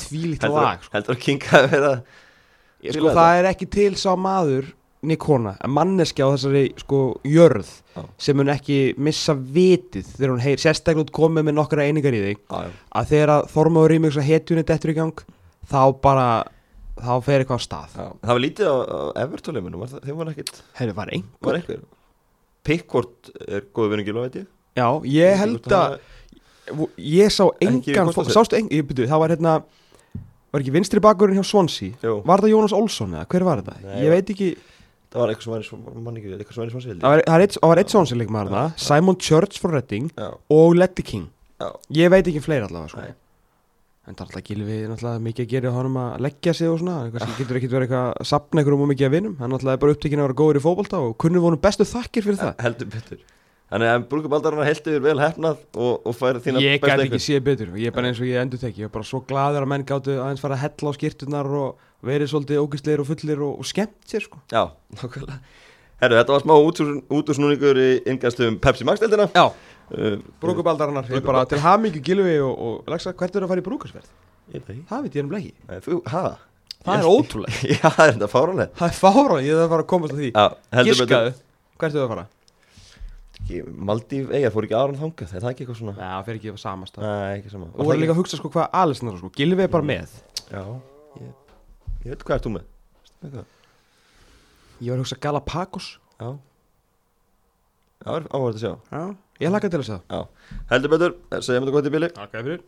Speaker 2: Þvílíkt
Speaker 1: Heldur-
Speaker 2: lag sko.
Speaker 1: Heldur að King hafi verið að
Speaker 2: Ég,
Speaker 1: Fílaði
Speaker 2: sko,
Speaker 1: það?
Speaker 2: það er ekki til sá maður Nikona, manneskja á þessari sko, jörð
Speaker 1: Já.
Speaker 2: sem mun ekki missa vitið þegar hún heyr sérstaklega út komið með nokkra einingar í þig
Speaker 1: Já, já,
Speaker 2: að þegar að Þormóður Rímix að hetjunni dettur í gang þá bara, þá fer eitthvað á stað
Speaker 1: já Það var lítið á, á Evertólimunum, var það, þeim var ekkit
Speaker 2: Herri, var einn?
Speaker 1: Var einhver Pickford er góð vinningil á, veit ég
Speaker 2: Já, ég held að ég sá
Speaker 1: Ekki við
Speaker 2: engan,
Speaker 1: Kostas-
Speaker 2: fó- sástu engan ég byrju, það var hérna var ekki vinstri bakurinn hjá Swansea
Speaker 1: Jú,
Speaker 2: var það Jónas Olsson eða hver var þetta?
Speaker 1: Nei,
Speaker 2: ég
Speaker 1: var-
Speaker 2: veit ekki,
Speaker 1: það var eitthvað sem var eins og mann ekki Eitthvað sem var eins og hans
Speaker 2: það var, það er eitt, það var eitt Swansea leikmaður þarna, Simon Church frá Reading
Speaker 1: Já,
Speaker 2: og Letty King
Speaker 1: Já.
Speaker 2: ég veit ekki fleiri allavega sko.
Speaker 1: Nei.
Speaker 2: en það er alltaf gilfi náttúrulega mikið að gera hjá honum að leggja sig og svona hann kannski getur ekkit verið eitthvað að sapna einhverjum og mikið að vinum hann náttúrulega er bara upptekinn að vera góður í fótbolta og kunnum vonum bestu þakkir fyrir það
Speaker 1: heldur betur Þannig að Brúkup Aldarana heldur yfir vel hefnað og, og fær þína
Speaker 2: ég
Speaker 1: bestu einkunn.
Speaker 2: gæti ekki séð betur ég er bara eins og ég endur teki ég er bara svo gladur að menn gáttu aðeins fara að hella á skýrtunar og verið svolítið ógistleir og fullir og, og skemmt sér sko
Speaker 1: Já, nákvæmlega Herru, þetta var smá útúr- útúrsnúningur í ingastum Pepsi Max-deldina
Speaker 2: já
Speaker 1: uh,
Speaker 2: brúkubaldarinnar ég bara til hamingu gilfi og, og lagsa hvert er að fara í brúkarsverð
Speaker 1: Ég veit það ekki
Speaker 2: það veit ég ennum ekki
Speaker 1: Nei, Þú, ha?
Speaker 2: Það er
Speaker 1: Ég-
Speaker 2: ótrúlega
Speaker 1: Já, það er þetta fáranlega
Speaker 2: Það er fára, ég þarf bara að komast að því
Speaker 1: Já, heldur
Speaker 2: Giskaðu, hvert er það að fara?
Speaker 1: betur Maldíf eigar fór ekki Aron þangað, er það ekki eitthvað svona
Speaker 2: Já, það fer ekki að samast það
Speaker 1: Nei, ekki sama
Speaker 2: Og voru líka að hugsa sko hvað Alisson er sko Gilvi er bara með
Speaker 1: Já, ég, ég veit hvað ert þú með Veistu með hvað?
Speaker 2: Ég var að hugsa Galapagos
Speaker 1: Já Já, áhverð að sjá
Speaker 2: Já Ég laka til að segja
Speaker 1: Já, heldur betur, segja mér þetta gott í bili
Speaker 2: Takk fyrir